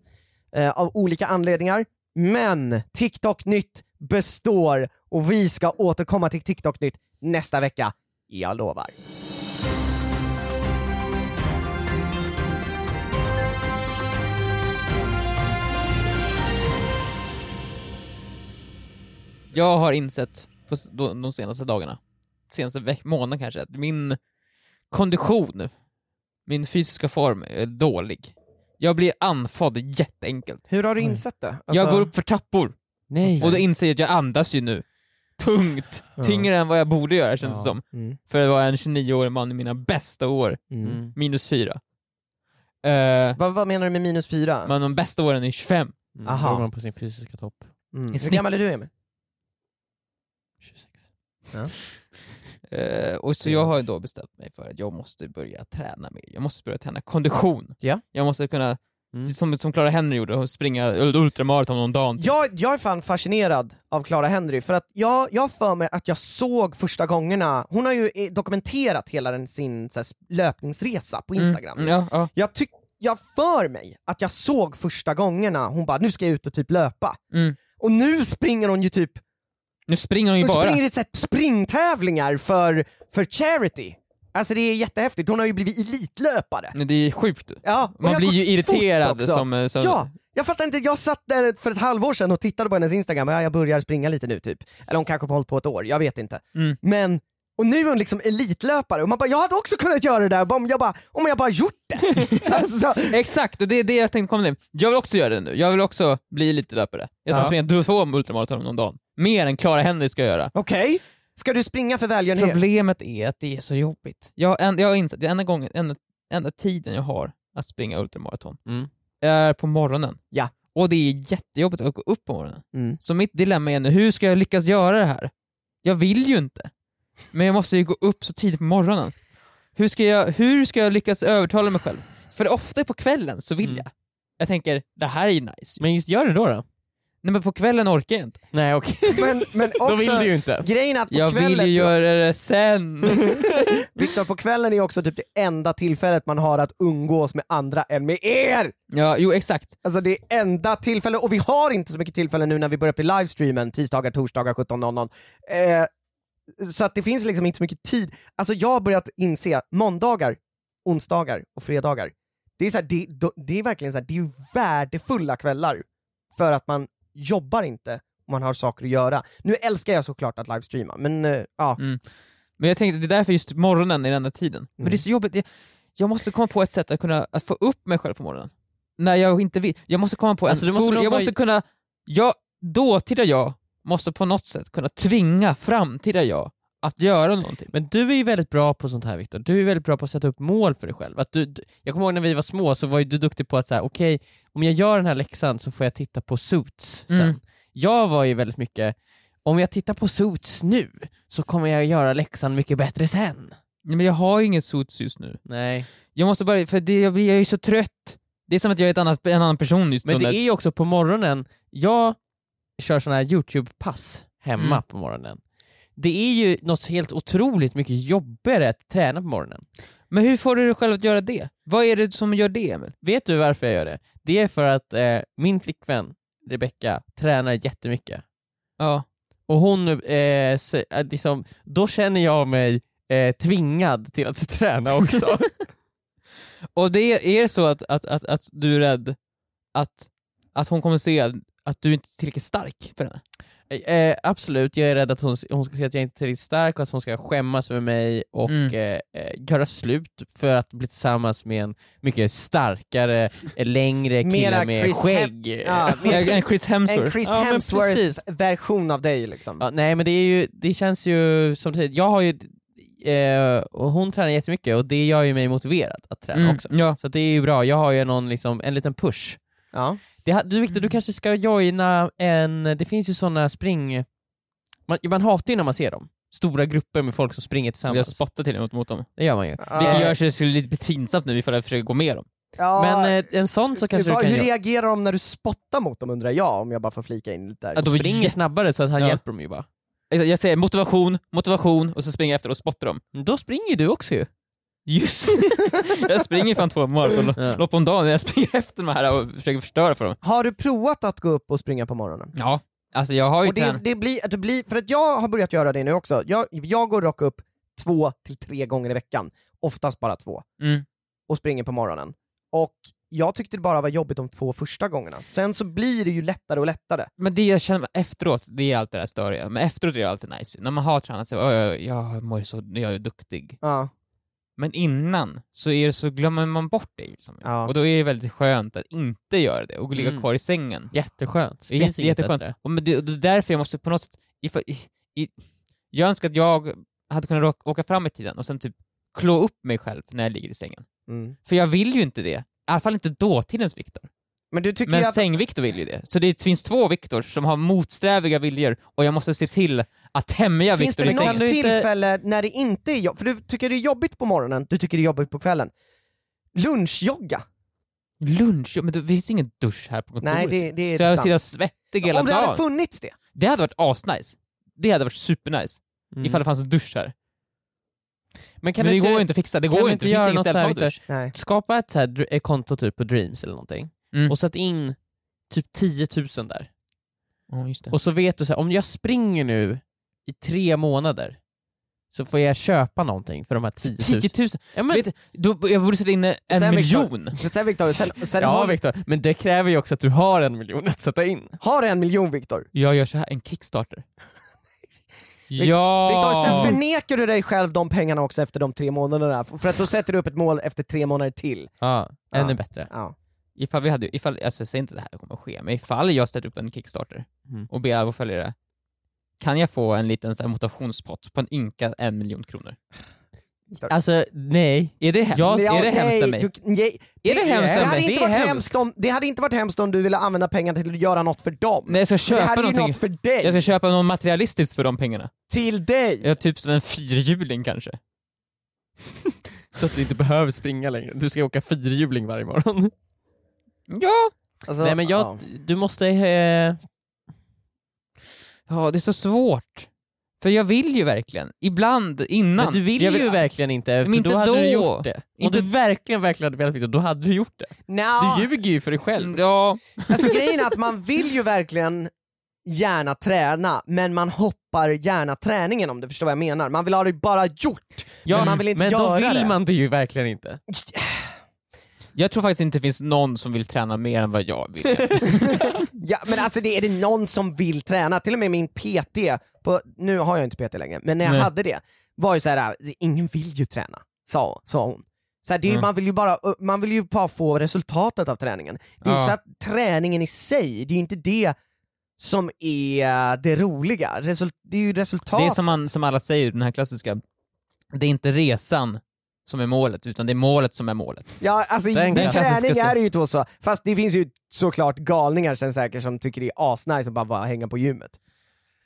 Speaker 4: eh, av olika anledningar. Men TikTok nytt består och vi ska återkomma till TikTok nytt nästa vecka. Jag lovar.
Speaker 3: Jag har insett på s- då- de senaste dagarna, senaste veck- månaden kanske, att min kondition, min fysiska form är dålig. Jag blir andfådd jätteenkelt.
Speaker 4: Hur har Alltså- du insett det?
Speaker 2: Alltså-
Speaker 3: Jag går upp för trappor
Speaker 2: Nej.
Speaker 3: och då inser jag att jag andas ju nu. Tungt, tyngre än vad jag borde göra känns det
Speaker 2: Ja.
Speaker 3: som.
Speaker 4: Mm.
Speaker 3: För att vara en 29-årig man i mina bästa år,
Speaker 4: Mm.
Speaker 2: Mm.
Speaker 3: minus fyra. Eh,
Speaker 4: Vad, vad menar du med minus fyra?
Speaker 3: men de bästa åren är 25.
Speaker 2: Mm.
Speaker 4: Aha.
Speaker 2: Då är man på sin fysiska topp.
Speaker 4: Mm. Hur
Speaker 3: snitt.
Speaker 4: gammal är du Emil?
Speaker 2: 26.
Speaker 3: Eh, och så jag har ju då bestämt mig för att jag måste börja träna mer. Jag måste börja träna kondition.
Speaker 4: Ja.
Speaker 3: Jag måste kunna,
Speaker 2: Mm.
Speaker 3: som, som Clara Henry gjorde, hon springa ul- ultramaraton om dagen.
Speaker 4: Jag, jag är fan fascinerad av Clara Henry, för att jag, jag har för mig att jag såg första gångerna, hon har ju eh, dokumenterat hela den, sin så här, löpningsresa på Instagram.
Speaker 3: Mm, ja, ja.
Speaker 4: Jag tyck, jag för mig att jag såg första gångerna hon bara nu ska jag ut och typ löpa.
Speaker 3: Mm.
Speaker 4: Och nu springer hon ju typ
Speaker 3: Nu springer hon ju
Speaker 4: hon
Speaker 3: bara.
Speaker 4: springer i ett sätt springtävlingar för, för charity. Alltså det är jättehäftigt, hon har ju blivit elitlöpare.
Speaker 3: Det är sjukt.
Speaker 4: Ja, och
Speaker 3: Mm. Man
Speaker 4: det har
Speaker 3: blir ju
Speaker 4: gått fort
Speaker 3: irriterad
Speaker 4: också.
Speaker 3: som, eh, som...
Speaker 4: Ja, jag fattar inte. Jag satt där för ett halvår sedan och tittade på hennes instagram, ja, jag börjar springa lite nu typ. Eller hon kanske har hållit på ett år, jag vet inte.
Speaker 3: Mm.
Speaker 4: Men, och nu är hon liksom elitlöpare och man bara, jag hade också kunnat göra det där bara om jag bara, om jag bara gjort det. alltså,
Speaker 3: Exakt, och det är det jag tänkte komma till. Jag vill också göra det nu. Jag vill också bli lite löpare. Jag ska
Speaker 2: Ja.
Speaker 3: springa två ultramaraton om dagen. Mer än Clara Henry ska göra.
Speaker 4: Okej, Ska du springa för välgörenhet?
Speaker 3: Problemet är att det är så jobbigt. Jag, en, jag har insett, det enda, gången, enda, enda tiden jag har att springa ultramaraton
Speaker 2: Mm.
Speaker 3: är på morgonen.
Speaker 4: Ja.
Speaker 3: Och det är jättejobbigt att gå upp på morgonen.
Speaker 4: Mm.
Speaker 3: Så mitt dilemma är nu, hur ska jag lyckas göra det här? Jag vill ju inte. Men jag måste ju gå upp så tidigt på morgonen. Hur ska jag, hur ska jag lyckas övertala mig själv? För ofta på kvällen så vill
Speaker 2: Mm.
Speaker 3: jag. Jag tänker, det här är nice.
Speaker 2: Men just gör det då då.
Speaker 3: Nej men på kvällen orkar jag inte.
Speaker 2: Nej okej,
Speaker 4: Men, men
Speaker 2: då vill
Speaker 4: också,
Speaker 2: du ju inte.
Speaker 4: grejen är att på
Speaker 3: Jag vill
Speaker 4: kvällen,
Speaker 3: ju göra det sen.
Speaker 4: Viktor, på kvällen är också typ det enda tillfället man har att umgås med andra än med er!
Speaker 3: ja, jo exakt.
Speaker 4: Alltså det är enda tillfället, och vi har inte så mycket tillfällen nu när vi börjar på livestreamen tisdagar, torsdagar 17.00. Eh, så att det finns liksom inte så mycket tid. Alltså jag har börjat inse, måndagar, onsdagar och fredagar, det är, så här, det, då- det är verkligen så här, det är ju värdefulla kvällar för att man jobbar inte och man har saker att göra. Nu älskar jag såklart att livestreama, men eh, ja.
Speaker 3: Men jag tänkte, det är därför just morgonen är den enda tiden. Men
Speaker 2: Mm.
Speaker 3: det är så jobbigt, jag, jag måste komma på ett sätt att kunna att få upp mig själv på morgonen. När jag inte vill. Jag måste komma på en
Speaker 2: Alltså, du måste
Speaker 3: full,
Speaker 2: nog
Speaker 3: jag
Speaker 2: bara-
Speaker 3: måste kunna, jag, dåtida jag måste på något sätt kunna tvinga framtida jag att göra någonting.
Speaker 2: Men du är ju väldigt bra på sånt här Viktor, du är väldigt bra på att sätta upp mål för dig själv. Att du, du, jag kommer ihåg när vi var små så var ju du duktig på att säga, okej, om jag gör den här läxan så får jag titta på Suits sen.
Speaker 3: Mm.
Speaker 2: Jag var ju väldigt mycket, om jag tittar på Suits nu så kommer jag göra läxan mycket bättre sen.
Speaker 3: Nej, Men jag har ju ingen sots just nu.
Speaker 2: Nej.
Speaker 3: Jag måste bara, för det, jag, blir- jag är ju så trött. Det är som att jag är ett annat, en annan person just
Speaker 2: Men det
Speaker 3: nu.
Speaker 2: är ju också på morgonen, jag kör såna här YouTube-pass hemma
Speaker 3: Mm.
Speaker 2: på morgonen. Det är ju något helt otroligt mycket jobbigare att träna på morgonen.
Speaker 3: Men hur får du dig själv att göra det? Vad är det som gör det Emil?
Speaker 2: Vet du varför jag gör det? Det är för att eh, min flickvän Rebecca tränar jättemycket.
Speaker 3: Ja.
Speaker 2: Och hon, eh, sä- eh, liksom, då känner jag mig eh, tvingad till att träna också.
Speaker 3: Och det är, är det så att, att, att, att du är rädd att, att hon kommer se att du inte är tillräckligt stark för henne?
Speaker 2: eh, absolut, jag är rädd att hon, hon ska se att jag inte är tillräckligt stark och att hon ska skämmas över mig och
Speaker 3: Mm.
Speaker 2: eh, eh, göra slut för att bli tillsammans med en mycket starkare, eh, längre
Speaker 4: Mera
Speaker 2: kille med
Speaker 4: Chris
Speaker 2: skägg.
Speaker 4: Ja,
Speaker 3: En en Chris Hemsworth?
Speaker 4: en Chris
Speaker 2: Ja, men precis.
Speaker 4: Hemsworth-version av dig liksom.
Speaker 2: Ja, nej men det är ju, det känns ju som du säger, jag har ju, eh, och hon tränar jättemycket och det gör ju mig motiverad att träna
Speaker 3: Mm,
Speaker 2: också.
Speaker 3: ja.
Speaker 2: Så att det är ju bra, jag har ju någon, liksom, en liten push.
Speaker 4: Ja.
Speaker 2: Det, ha- du
Speaker 3: Mm.
Speaker 2: Viktor, du kanske ska joina en, det finns ju sådana spring... Man, man hatar ju när man ser dem. Stora grupper med folk som springer
Speaker 3: Jag
Speaker 2: tillsammans.
Speaker 3: spottar till och med mot dem.
Speaker 2: Det gör man ju.
Speaker 4: Ja.
Speaker 3: Vilket gör så det skulle bli lite pinsamt nu ifall jag försöker gå med dem.
Speaker 4: Ja.
Speaker 2: Men eh, en sån så kanske
Speaker 4: Vad-
Speaker 2: du kan
Speaker 4: hur
Speaker 2: göra.
Speaker 4: reagerar de när du spottar mot dem undrar jag, om jag bara får flika in lite där.
Speaker 3: Att de är
Speaker 2: Springer
Speaker 3: jätte-
Speaker 2: snabbare så att han
Speaker 3: Ja.
Speaker 2: hjälper dem ju bara.
Speaker 3: Exakt, Jag säger motivation, motivation och så springer jag efter och spottar dem.
Speaker 2: Men Då springer du också ju.
Speaker 3: Just Jag springer fan två maratonlopp
Speaker 2: Ja.
Speaker 3: lopp om dagen, jag springer efter de här och försöker förstöra för dem.
Speaker 4: Har du provat att gå upp och springa på morgonen?
Speaker 3: Ja, alltså jag har ju
Speaker 4: Och det,
Speaker 3: tränat.
Speaker 4: det blir, att det blir, för att jag har börjat göra det nu också. Jag, jag går rock upp två till tre gånger i veckan, oftast bara två,
Speaker 3: Mm.
Speaker 4: och springer på morgonen. Och jag tyckte det bara var jobbigt de två första gångerna. Sen så blir det ju lättare och lättare.
Speaker 3: Men det jag känner efteråt, det är allt det där störiga. Men efteråt är det alltid nice. När man har tränat sig, "Åh, jag, jag mår så, jag är duktig.
Speaker 4: Ja.
Speaker 3: Men innan så, är det, så glömmer man bort det. Liksom.
Speaker 4: Ja.
Speaker 3: Och då är det väldigt skönt att inte göra det och ligga
Speaker 2: Mm.
Speaker 3: kvar i sängen.
Speaker 2: Jätteskönt.
Speaker 3: Det är jätte, jätteskönt. Och men det, och det är därför jag måste på något sätt... Ifall, i, i, jag önskar att jag hade kunnat råka, åka fram i tiden och sen typ klå upp mig själv när jag ligger i sängen.
Speaker 4: Mm.
Speaker 3: För jag vill ju inte det. I alla fall inte dåtidens Viktor.
Speaker 4: Men du tycker
Speaker 3: Men
Speaker 4: ju att...
Speaker 3: säng-Viktor vill ju det. Så det finns två Viktor som har motsträviga viljor och jag måste se till att tämja
Speaker 4: Finns
Speaker 3: Viktor
Speaker 4: det
Speaker 3: i
Speaker 4: något
Speaker 3: sängen.
Speaker 2: du inte-
Speaker 4: tillfälle när det inte är jobbigt? För du tycker det är jobbigt på morgonen, du tycker det är jobbigt på kvällen. Lunchjogga?
Speaker 3: Lunch? Ja, Men det finns ingen dusch här på kontoret.
Speaker 4: Nej, det, det är
Speaker 3: så jag
Speaker 4: sant.
Speaker 3: sitter svettig hela
Speaker 4: Om det
Speaker 3: dagen.
Speaker 4: hade funnits det.
Speaker 3: Det hade varit asnice. Det hade varit supernice.
Speaker 2: Mm.
Speaker 3: Ifall det fanns en dusch här.
Speaker 2: Men
Speaker 3: Men
Speaker 2: kan
Speaker 3: det
Speaker 2: du inte,
Speaker 3: går ju inte att fixa. Det
Speaker 2: kan
Speaker 3: går
Speaker 2: du
Speaker 3: inte.
Speaker 2: inte
Speaker 3: Det
Speaker 2: göra
Speaker 3: finns inget
Speaker 2: något
Speaker 3: ställe att
Speaker 2: så
Speaker 3: ta
Speaker 2: här
Speaker 3: dusch.
Speaker 4: Nej.
Speaker 2: skapa ett så här dr- eh, konto typ på Dreams eller någonting
Speaker 3: Mm.
Speaker 2: och sätt in typ 10 000 där.
Speaker 3: Ja, just det.
Speaker 2: Och så vet du så här, om jag springer nu i tre månader så får jag köpa någonting för de här 10 000.
Speaker 3: 10 000.
Speaker 2: Ja, men,
Speaker 3: Vet du, då, jag borde sätta in en
Speaker 4: Sen,
Speaker 3: miljon.
Speaker 4: Victor, sen Viktor, sen, sen
Speaker 2: ja,
Speaker 4: har,
Speaker 2: Victor, men det kräver ju också att du har en miljon att sätta in.
Speaker 4: har en miljon Viktor.
Speaker 3: Jag gör så här, en kickstarter. ja!
Speaker 4: Viktor, sen förnekar du dig själv de pengarna också efter de tre månaderna, f- för att då sätter du upp ett mål efter tre månader till.
Speaker 2: Ja, ännu
Speaker 4: Ja.
Speaker 2: bättre.
Speaker 4: Ja.
Speaker 3: Ifall vi hade, ifall, alltså jag säger inte att det här kommer att ske, men ifall jag ställer upp en kickstarter
Speaker 2: Mm.
Speaker 3: och ber alla våra följare Kan jag få en liten så här, motivationspott på en ynka en miljon kronor?
Speaker 1: Alltså nej.
Speaker 3: Är det hemskt?
Speaker 1: Ja,
Speaker 3: är det hemskt av mig?
Speaker 4: nej, du- nej.
Speaker 3: Är det hemskt
Speaker 4: Det
Speaker 3: av
Speaker 4: hade,
Speaker 3: mig?
Speaker 4: inte
Speaker 3: Det är
Speaker 4: varit
Speaker 3: hemskt.
Speaker 4: hemskt om, det hade inte varit hemskt om du ville använda pengarna till att göra något för dem.
Speaker 3: Nej, jag ska
Speaker 4: Men
Speaker 3: köpa
Speaker 4: det här är ju
Speaker 3: någonting.
Speaker 4: något för dig.
Speaker 3: Jag ska köpa något materialistiskt för de pengarna.
Speaker 4: Till dig.
Speaker 3: Jag är typ som en fyrhjuling kanske.
Speaker 1: Så att du inte behöver springa längre. Du ska åka fyrhjuling varje morgon.
Speaker 3: Ja!
Speaker 4: Alltså,
Speaker 1: nej men jag,
Speaker 4: ja.
Speaker 1: du måste... Eh,
Speaker 3: Ja, det är så svårt. För jag vill ju verkligen. Ibland, innan.
Speaker 1: men du vill
Speaker 3: jag
Speaker 1: ju verkligen inte, för
Speaker 3: Men inte
Speaker 1: då hade du
Speaker 3: då.
Speaker 1: gjort det. Om
Speaker 3: Inte-
Speaker 1: du verkligen, verkligen hade velat flytta, då hade du gjort det.
Speaker 4: Nja,
Speaker 1: Du ljuger ju för dig själv.
Speaker 3: Ja,
Speaker 4: alltså grejen är att man vill ju verkligen gärna träna, men man hoppar gärna träningen om du förstår vad jag menar. Man vill ha det bara gjort, men man vill inte
Speaker 1: men
Speaker 4: göra
Speaker 1: då vill
Speaker 4: det.
Speaker 1: man det ju verkligen inte.
Speaker 3: Jag tror faktiskt inte det finns någon som vill träna mer än vad jag vill.
Speaker 4: Ja, men alltså det är det någon som vill träna, till och med min PT, på, nu har jag inte PT längre, men när jag
Speaker 3: Nej.
Speaker 4: hade det, var ju så här, ingen vill ju träna, sa, sa hon. Så här, det är, ju-
Speaker 3: Mm.
Speaker 4: man, vill ju bara, man vill ju bara få resultatet av träningen. Det är
Speaker 3: Ja.
Speaker 4: inte så att träningen i sig, det är ju inte det som är det roliga. Result, det är ju resultat.
Speaker 3: Det är som, man, som alla säger, den här klassiska, det är inte resan som är målet, utan det är målet som är målet.
Speaker 4: Ja, alltså
Speaker 1: Den
Speaker 4: med
Speaker 3: klassiska
Speaker 4: träning
Speaker 3: scen-
Speaker 4: är det ju då så, fast det finns ju såklart galningar sen säkert som tycker det är asnice att bara, bara hänga på gymmet.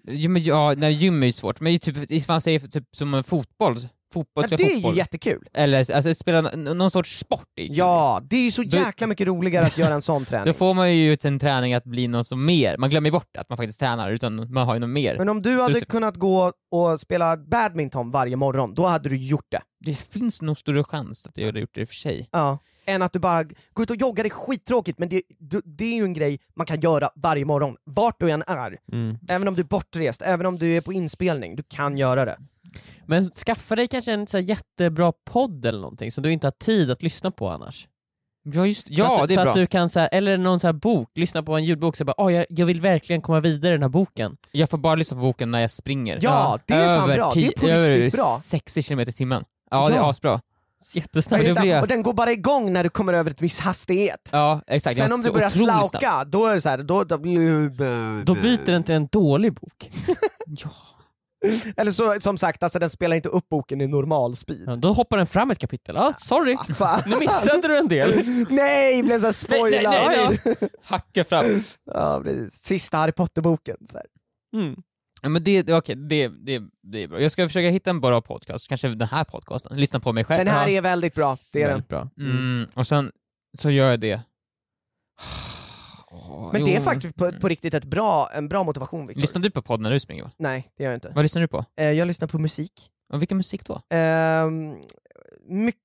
Speaker 3: Ja, men, ja, nej, gym är ju svårt, men ju typ, ifall man säger typ som en fotboll, fotboll,
Speaker 4: Ja,
Speaker 3: spela
Speaker 4: det är
Speaker 3: fotboll.
Speaker 4: ju jättekul.
Speaker 3: Eller alltså, spela n- någon sorts sport. i gym.
Speaker 4: Ja, det är ju så
Speaker 3: Du-
Speaker 4: jäkla mycket roligare att göra en sån
Speaker 3: Då
Speaker 4: träning.
Speaker 3: får man ju sin träning att bli något som mer, man glömmer bort att man faktiskt tränar, utan man har ju något mer.
Speaker 4: Men om du hade
Speaker 3: Strusse.
Speaker 4: kunnat gå och spela badminton varje morgon, då hade du gjort det.
Speaker 3: Det finns nog större chans att jag hade gjort det i och för sig.
Speaker 4: Ja. Än att du bara går ut och joggar, det är skittråkigt men det, du- det är ju en grej man kan göra varje morgon, vart du än är. Även om du är bortrest, även om du är på inspelning, du kan göra det.
Speaker 1: Men skaffa dig kanske en så här jättebra podd eller någonting som du inte har tid att lyssna på annars.
Speaker 3: Ja, just
Speaker 1: så
Speaker 3: Ja,
Speaker 1: att,
Speaker 3: det
Speaker 1: så
Speaker 3: är
Speaker 1: att du
Speaker 3: bra.
Speaker 1: kan så här, Eller någon så här bok, lyssna på en ljudbok så bara oh, jag, jag vill verkligen komma vidare i den här boken.
Speaker 3: Jag får bara lyssna på boken när jag springer.
Speaker 4: Ja, det är fan
Speaker 3: över
Speaker 4: bra. Det är
Speaker 3: ti-
Speaker 4: på riktigt
Speaker 3: över
Speaker 4: bra.
Speaker 3: 60 km i timmen. Ja, det
Speaker 4: Ja.
Speaker 3: är asbra.
Speaker 4: Ja,
Speaker 1: Jättesnabbt.
Speaker 4: just
Speaker 3: då blir
Speaker 4: det.
Speaker 3: jag-
Speaker 4: Och den går bara igång när du kommer över ett viss hastighet.
Speaker 3: Ja, exakt.
Speaker 4: Sen
Speaker 3: Jag
Speaker 4: om du
Speaker 3: så
Speaker 4: börjar
Speaker 3: otroligt
Speaker 4: slauka,
Speaker 3: snabb.
Speaker 4: då är det så här, då, då,
Speaker 1: Då byter den till en dålig bok.
Speaker 4: Eller så, som sagt, alltså, den spelar inte upp boken i normal speed.
Speaker 1: Ja, då hoppar den fram ett kapitel. Ah, sorry,
Speaker 4: Fan.
Speaker 1: nu missade du en del.
Speaker 4: Nej, blev såhär spoilad!
Speaker 3: Hacka fram.
Speaker 4: Ja, precis. Sista Harry Potter-boken. Så här.
Speaker 1: Mm.
Speaker 3: Ja, men det, det- okej, det, det, det är bra. Jag ska försöka hitta en bra podcast, kanske den här podcasten. Lyssna på mig själv.
Speaker 4: Den här
Speaker 3: Ja.
Speaker 4: är väldigt bra, det är den.
Speaker 3: väldigt bra. Mm. Och sen så gör jag det. Åh,
Speaker 4: Men det är
Speaker 3: jo.
Speaker 4: faktiskt på, på riktigt ett bra, en bra motivation Viktor.
Speaker 3: Lyssnar du på podden när du springer? Va?
Speaker 4: Nej, det gör jag inte.
Speaker 3: Vad lyssnar du på?
Speaker 4: Eh, Jag lyssnar på musik.
Speaker 3: Och vilken musik då?
Speaker 4: Ehm, mycket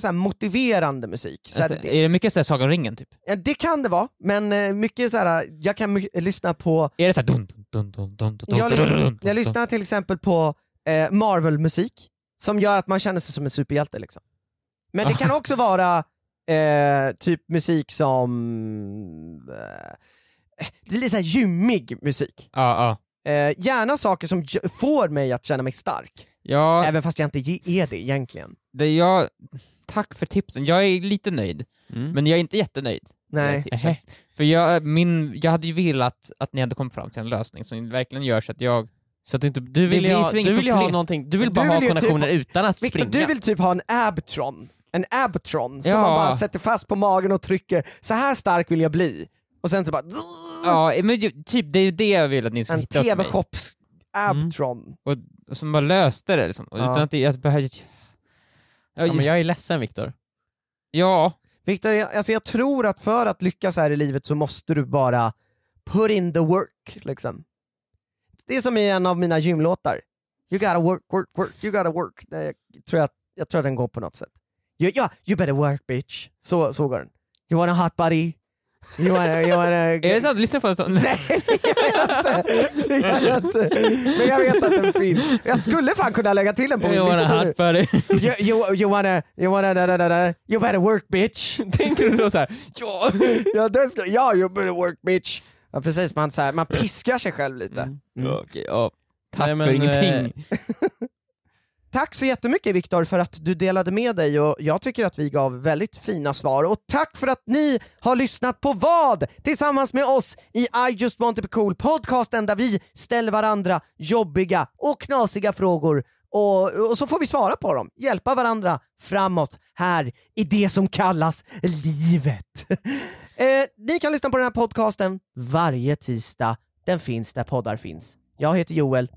Speaker 4: så här motiverande musik. Så här,
Speaker 3: Alltså,
Speaker 4: det,
Speaker 3: är det mycket så här Sagan om ringen typ?
Speaker 4: ja, det kan det vara, men eh, mycket så här, jag kan my- lyssna på,
Speaker 3: Är det såhär dun dun dun dun dun dun
Speaker 4: jag,
Speaker 3: dun, dun,
Speaker 4: lyssnar,
Speaker 3: dun,
Speaker 4: jag
Speaker 3: dun,
Speaker 4: lyssnar till exempel på eh, Marvel-musik, som gör att man känner sig som en superhjälte liksom. Men det kan
Speaker 3: Ah.
Speaker 4: också vara eh, typ musik som, eh, det är lite så här gymmig musik.
Speaker 3: Ja, ja.
Speaker 4: Eh, gärna saker som gö- får mig att känna mig stark,
Speaker 3: Ja,
Speaker 4: även fast jag inte ge- är det egentligen.
Speaker 3: det, jag, tack för tipsen. Jag är lite nöjd,
Speaker 1: Mm.
Speaker 3: men jag är inte jättenöjd. med
Speaker 4: Nej.
Speaker 3: tipset. För jag, eh, min, jag hade ju velat att ni hade kommit fram till en lösning som verkligen gör så att jag...
Speaker 1: Så att du, inte, du,
Speaker 3: Det
Speaker 1: vill ju
Speaker 3: blir
Speaker 1: ha,
Speaker 3: så inget
Speaker 1: du vill ju ha
Speaker 3: problem.
Speaker 1: någonting, du vill
Speaker 4: Du
Speaker 1: bara ha
Speaker 4: vill ju typ-
Speaker 1: konditioner utan att
Speaker 4: Viktor,
Speaker 1: springa.
Speaker 4: du vill typ ha en abtron. En abtron som
Speaker 3: Ja.
Speaker 4: man bara sätter fast på magen och trycker, så här stark vill jag bli. Och sen så bara...
Speaker 3: Ja, men ju- typ, det är ju det jag vill att ni ska
Speaker 4: Ah. En
Speaker 3: hitta åt mig. Mm.
Speaker 4: tv-shops abtron.
Speaker 3: Och Som bara löste det liksom. Och
Speaker 4: Ja.
Speaker 3: Utan att det, jag behöver...
Speaker 1: Ja,
Speaker 3: Ja,
Speaker 1: men
Speaker 3: jag,
Speaker 1: jag är ledsen Viktor.
Speaker 3: ja,
Speaker 4: Viktor, jag, alltså jag tror att för att lyckas här i livet så måste du bara put in the work. Liksom. Det är som i en av mina gymlåtar. You gotta work, work, work, you gotta work. Det, jag, tror att, jag tror att den går på något sätt. You, yeah, you better work bitch. Så, så går den. You want a hot body? You wanna, you wanna...
Speaker 3: är det så att du lyssnar på en sån?
Speaker 4: Nej, jag vet inte. Det gör jag inte. Men jag vet att den finns. Jag skulle fan kunna lägga till den på min
Speaker 3: Jag var en
Speaker 4: lista nu.
Speaker 3: hard buddy.
Speaker 4: You, you, you wanna, you wanna, da, da, da, da. you better work bitch.
Speaker 3: Tänkte du då såhär, ja!
Speaker 4: Ja, den ska, ja you better work bitch. Ja precis, man, så här, man piskar sig själv lite.
Speaker 1: Mm.
Speaker 3: Ja, Okej, ja. Tack
Speaker 2: eh,
Speaker 3: eh,
Speaker 1: Nej, men,
Speaker 3: för ingenting.
Speaker 1: eh,
Speaker 4: Tack så jättemycket Viktor för att du delade med dig och jag tycker att vi gav väldigt fina svar. Och tack för att ni har lyssnat på vad tillsammans med oss i I just want to be cool podcasten där vi ställer varandra jobbiga och knasiga frågor och, och så får vi svara på dem, hjälpa varandra framåt här i det som kallas livet. eh, ni kan lyssna på den här podcasten varje tisdag. Den finns där poddar finns. Jag heter Joel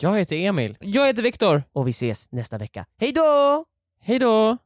Speaker 1: Jag heter Emil.
Speaker 3: Jag heter Viktor.
Speaker 4: och vi ses nästa vecka. Hej då!
Speaker 1: Hej då!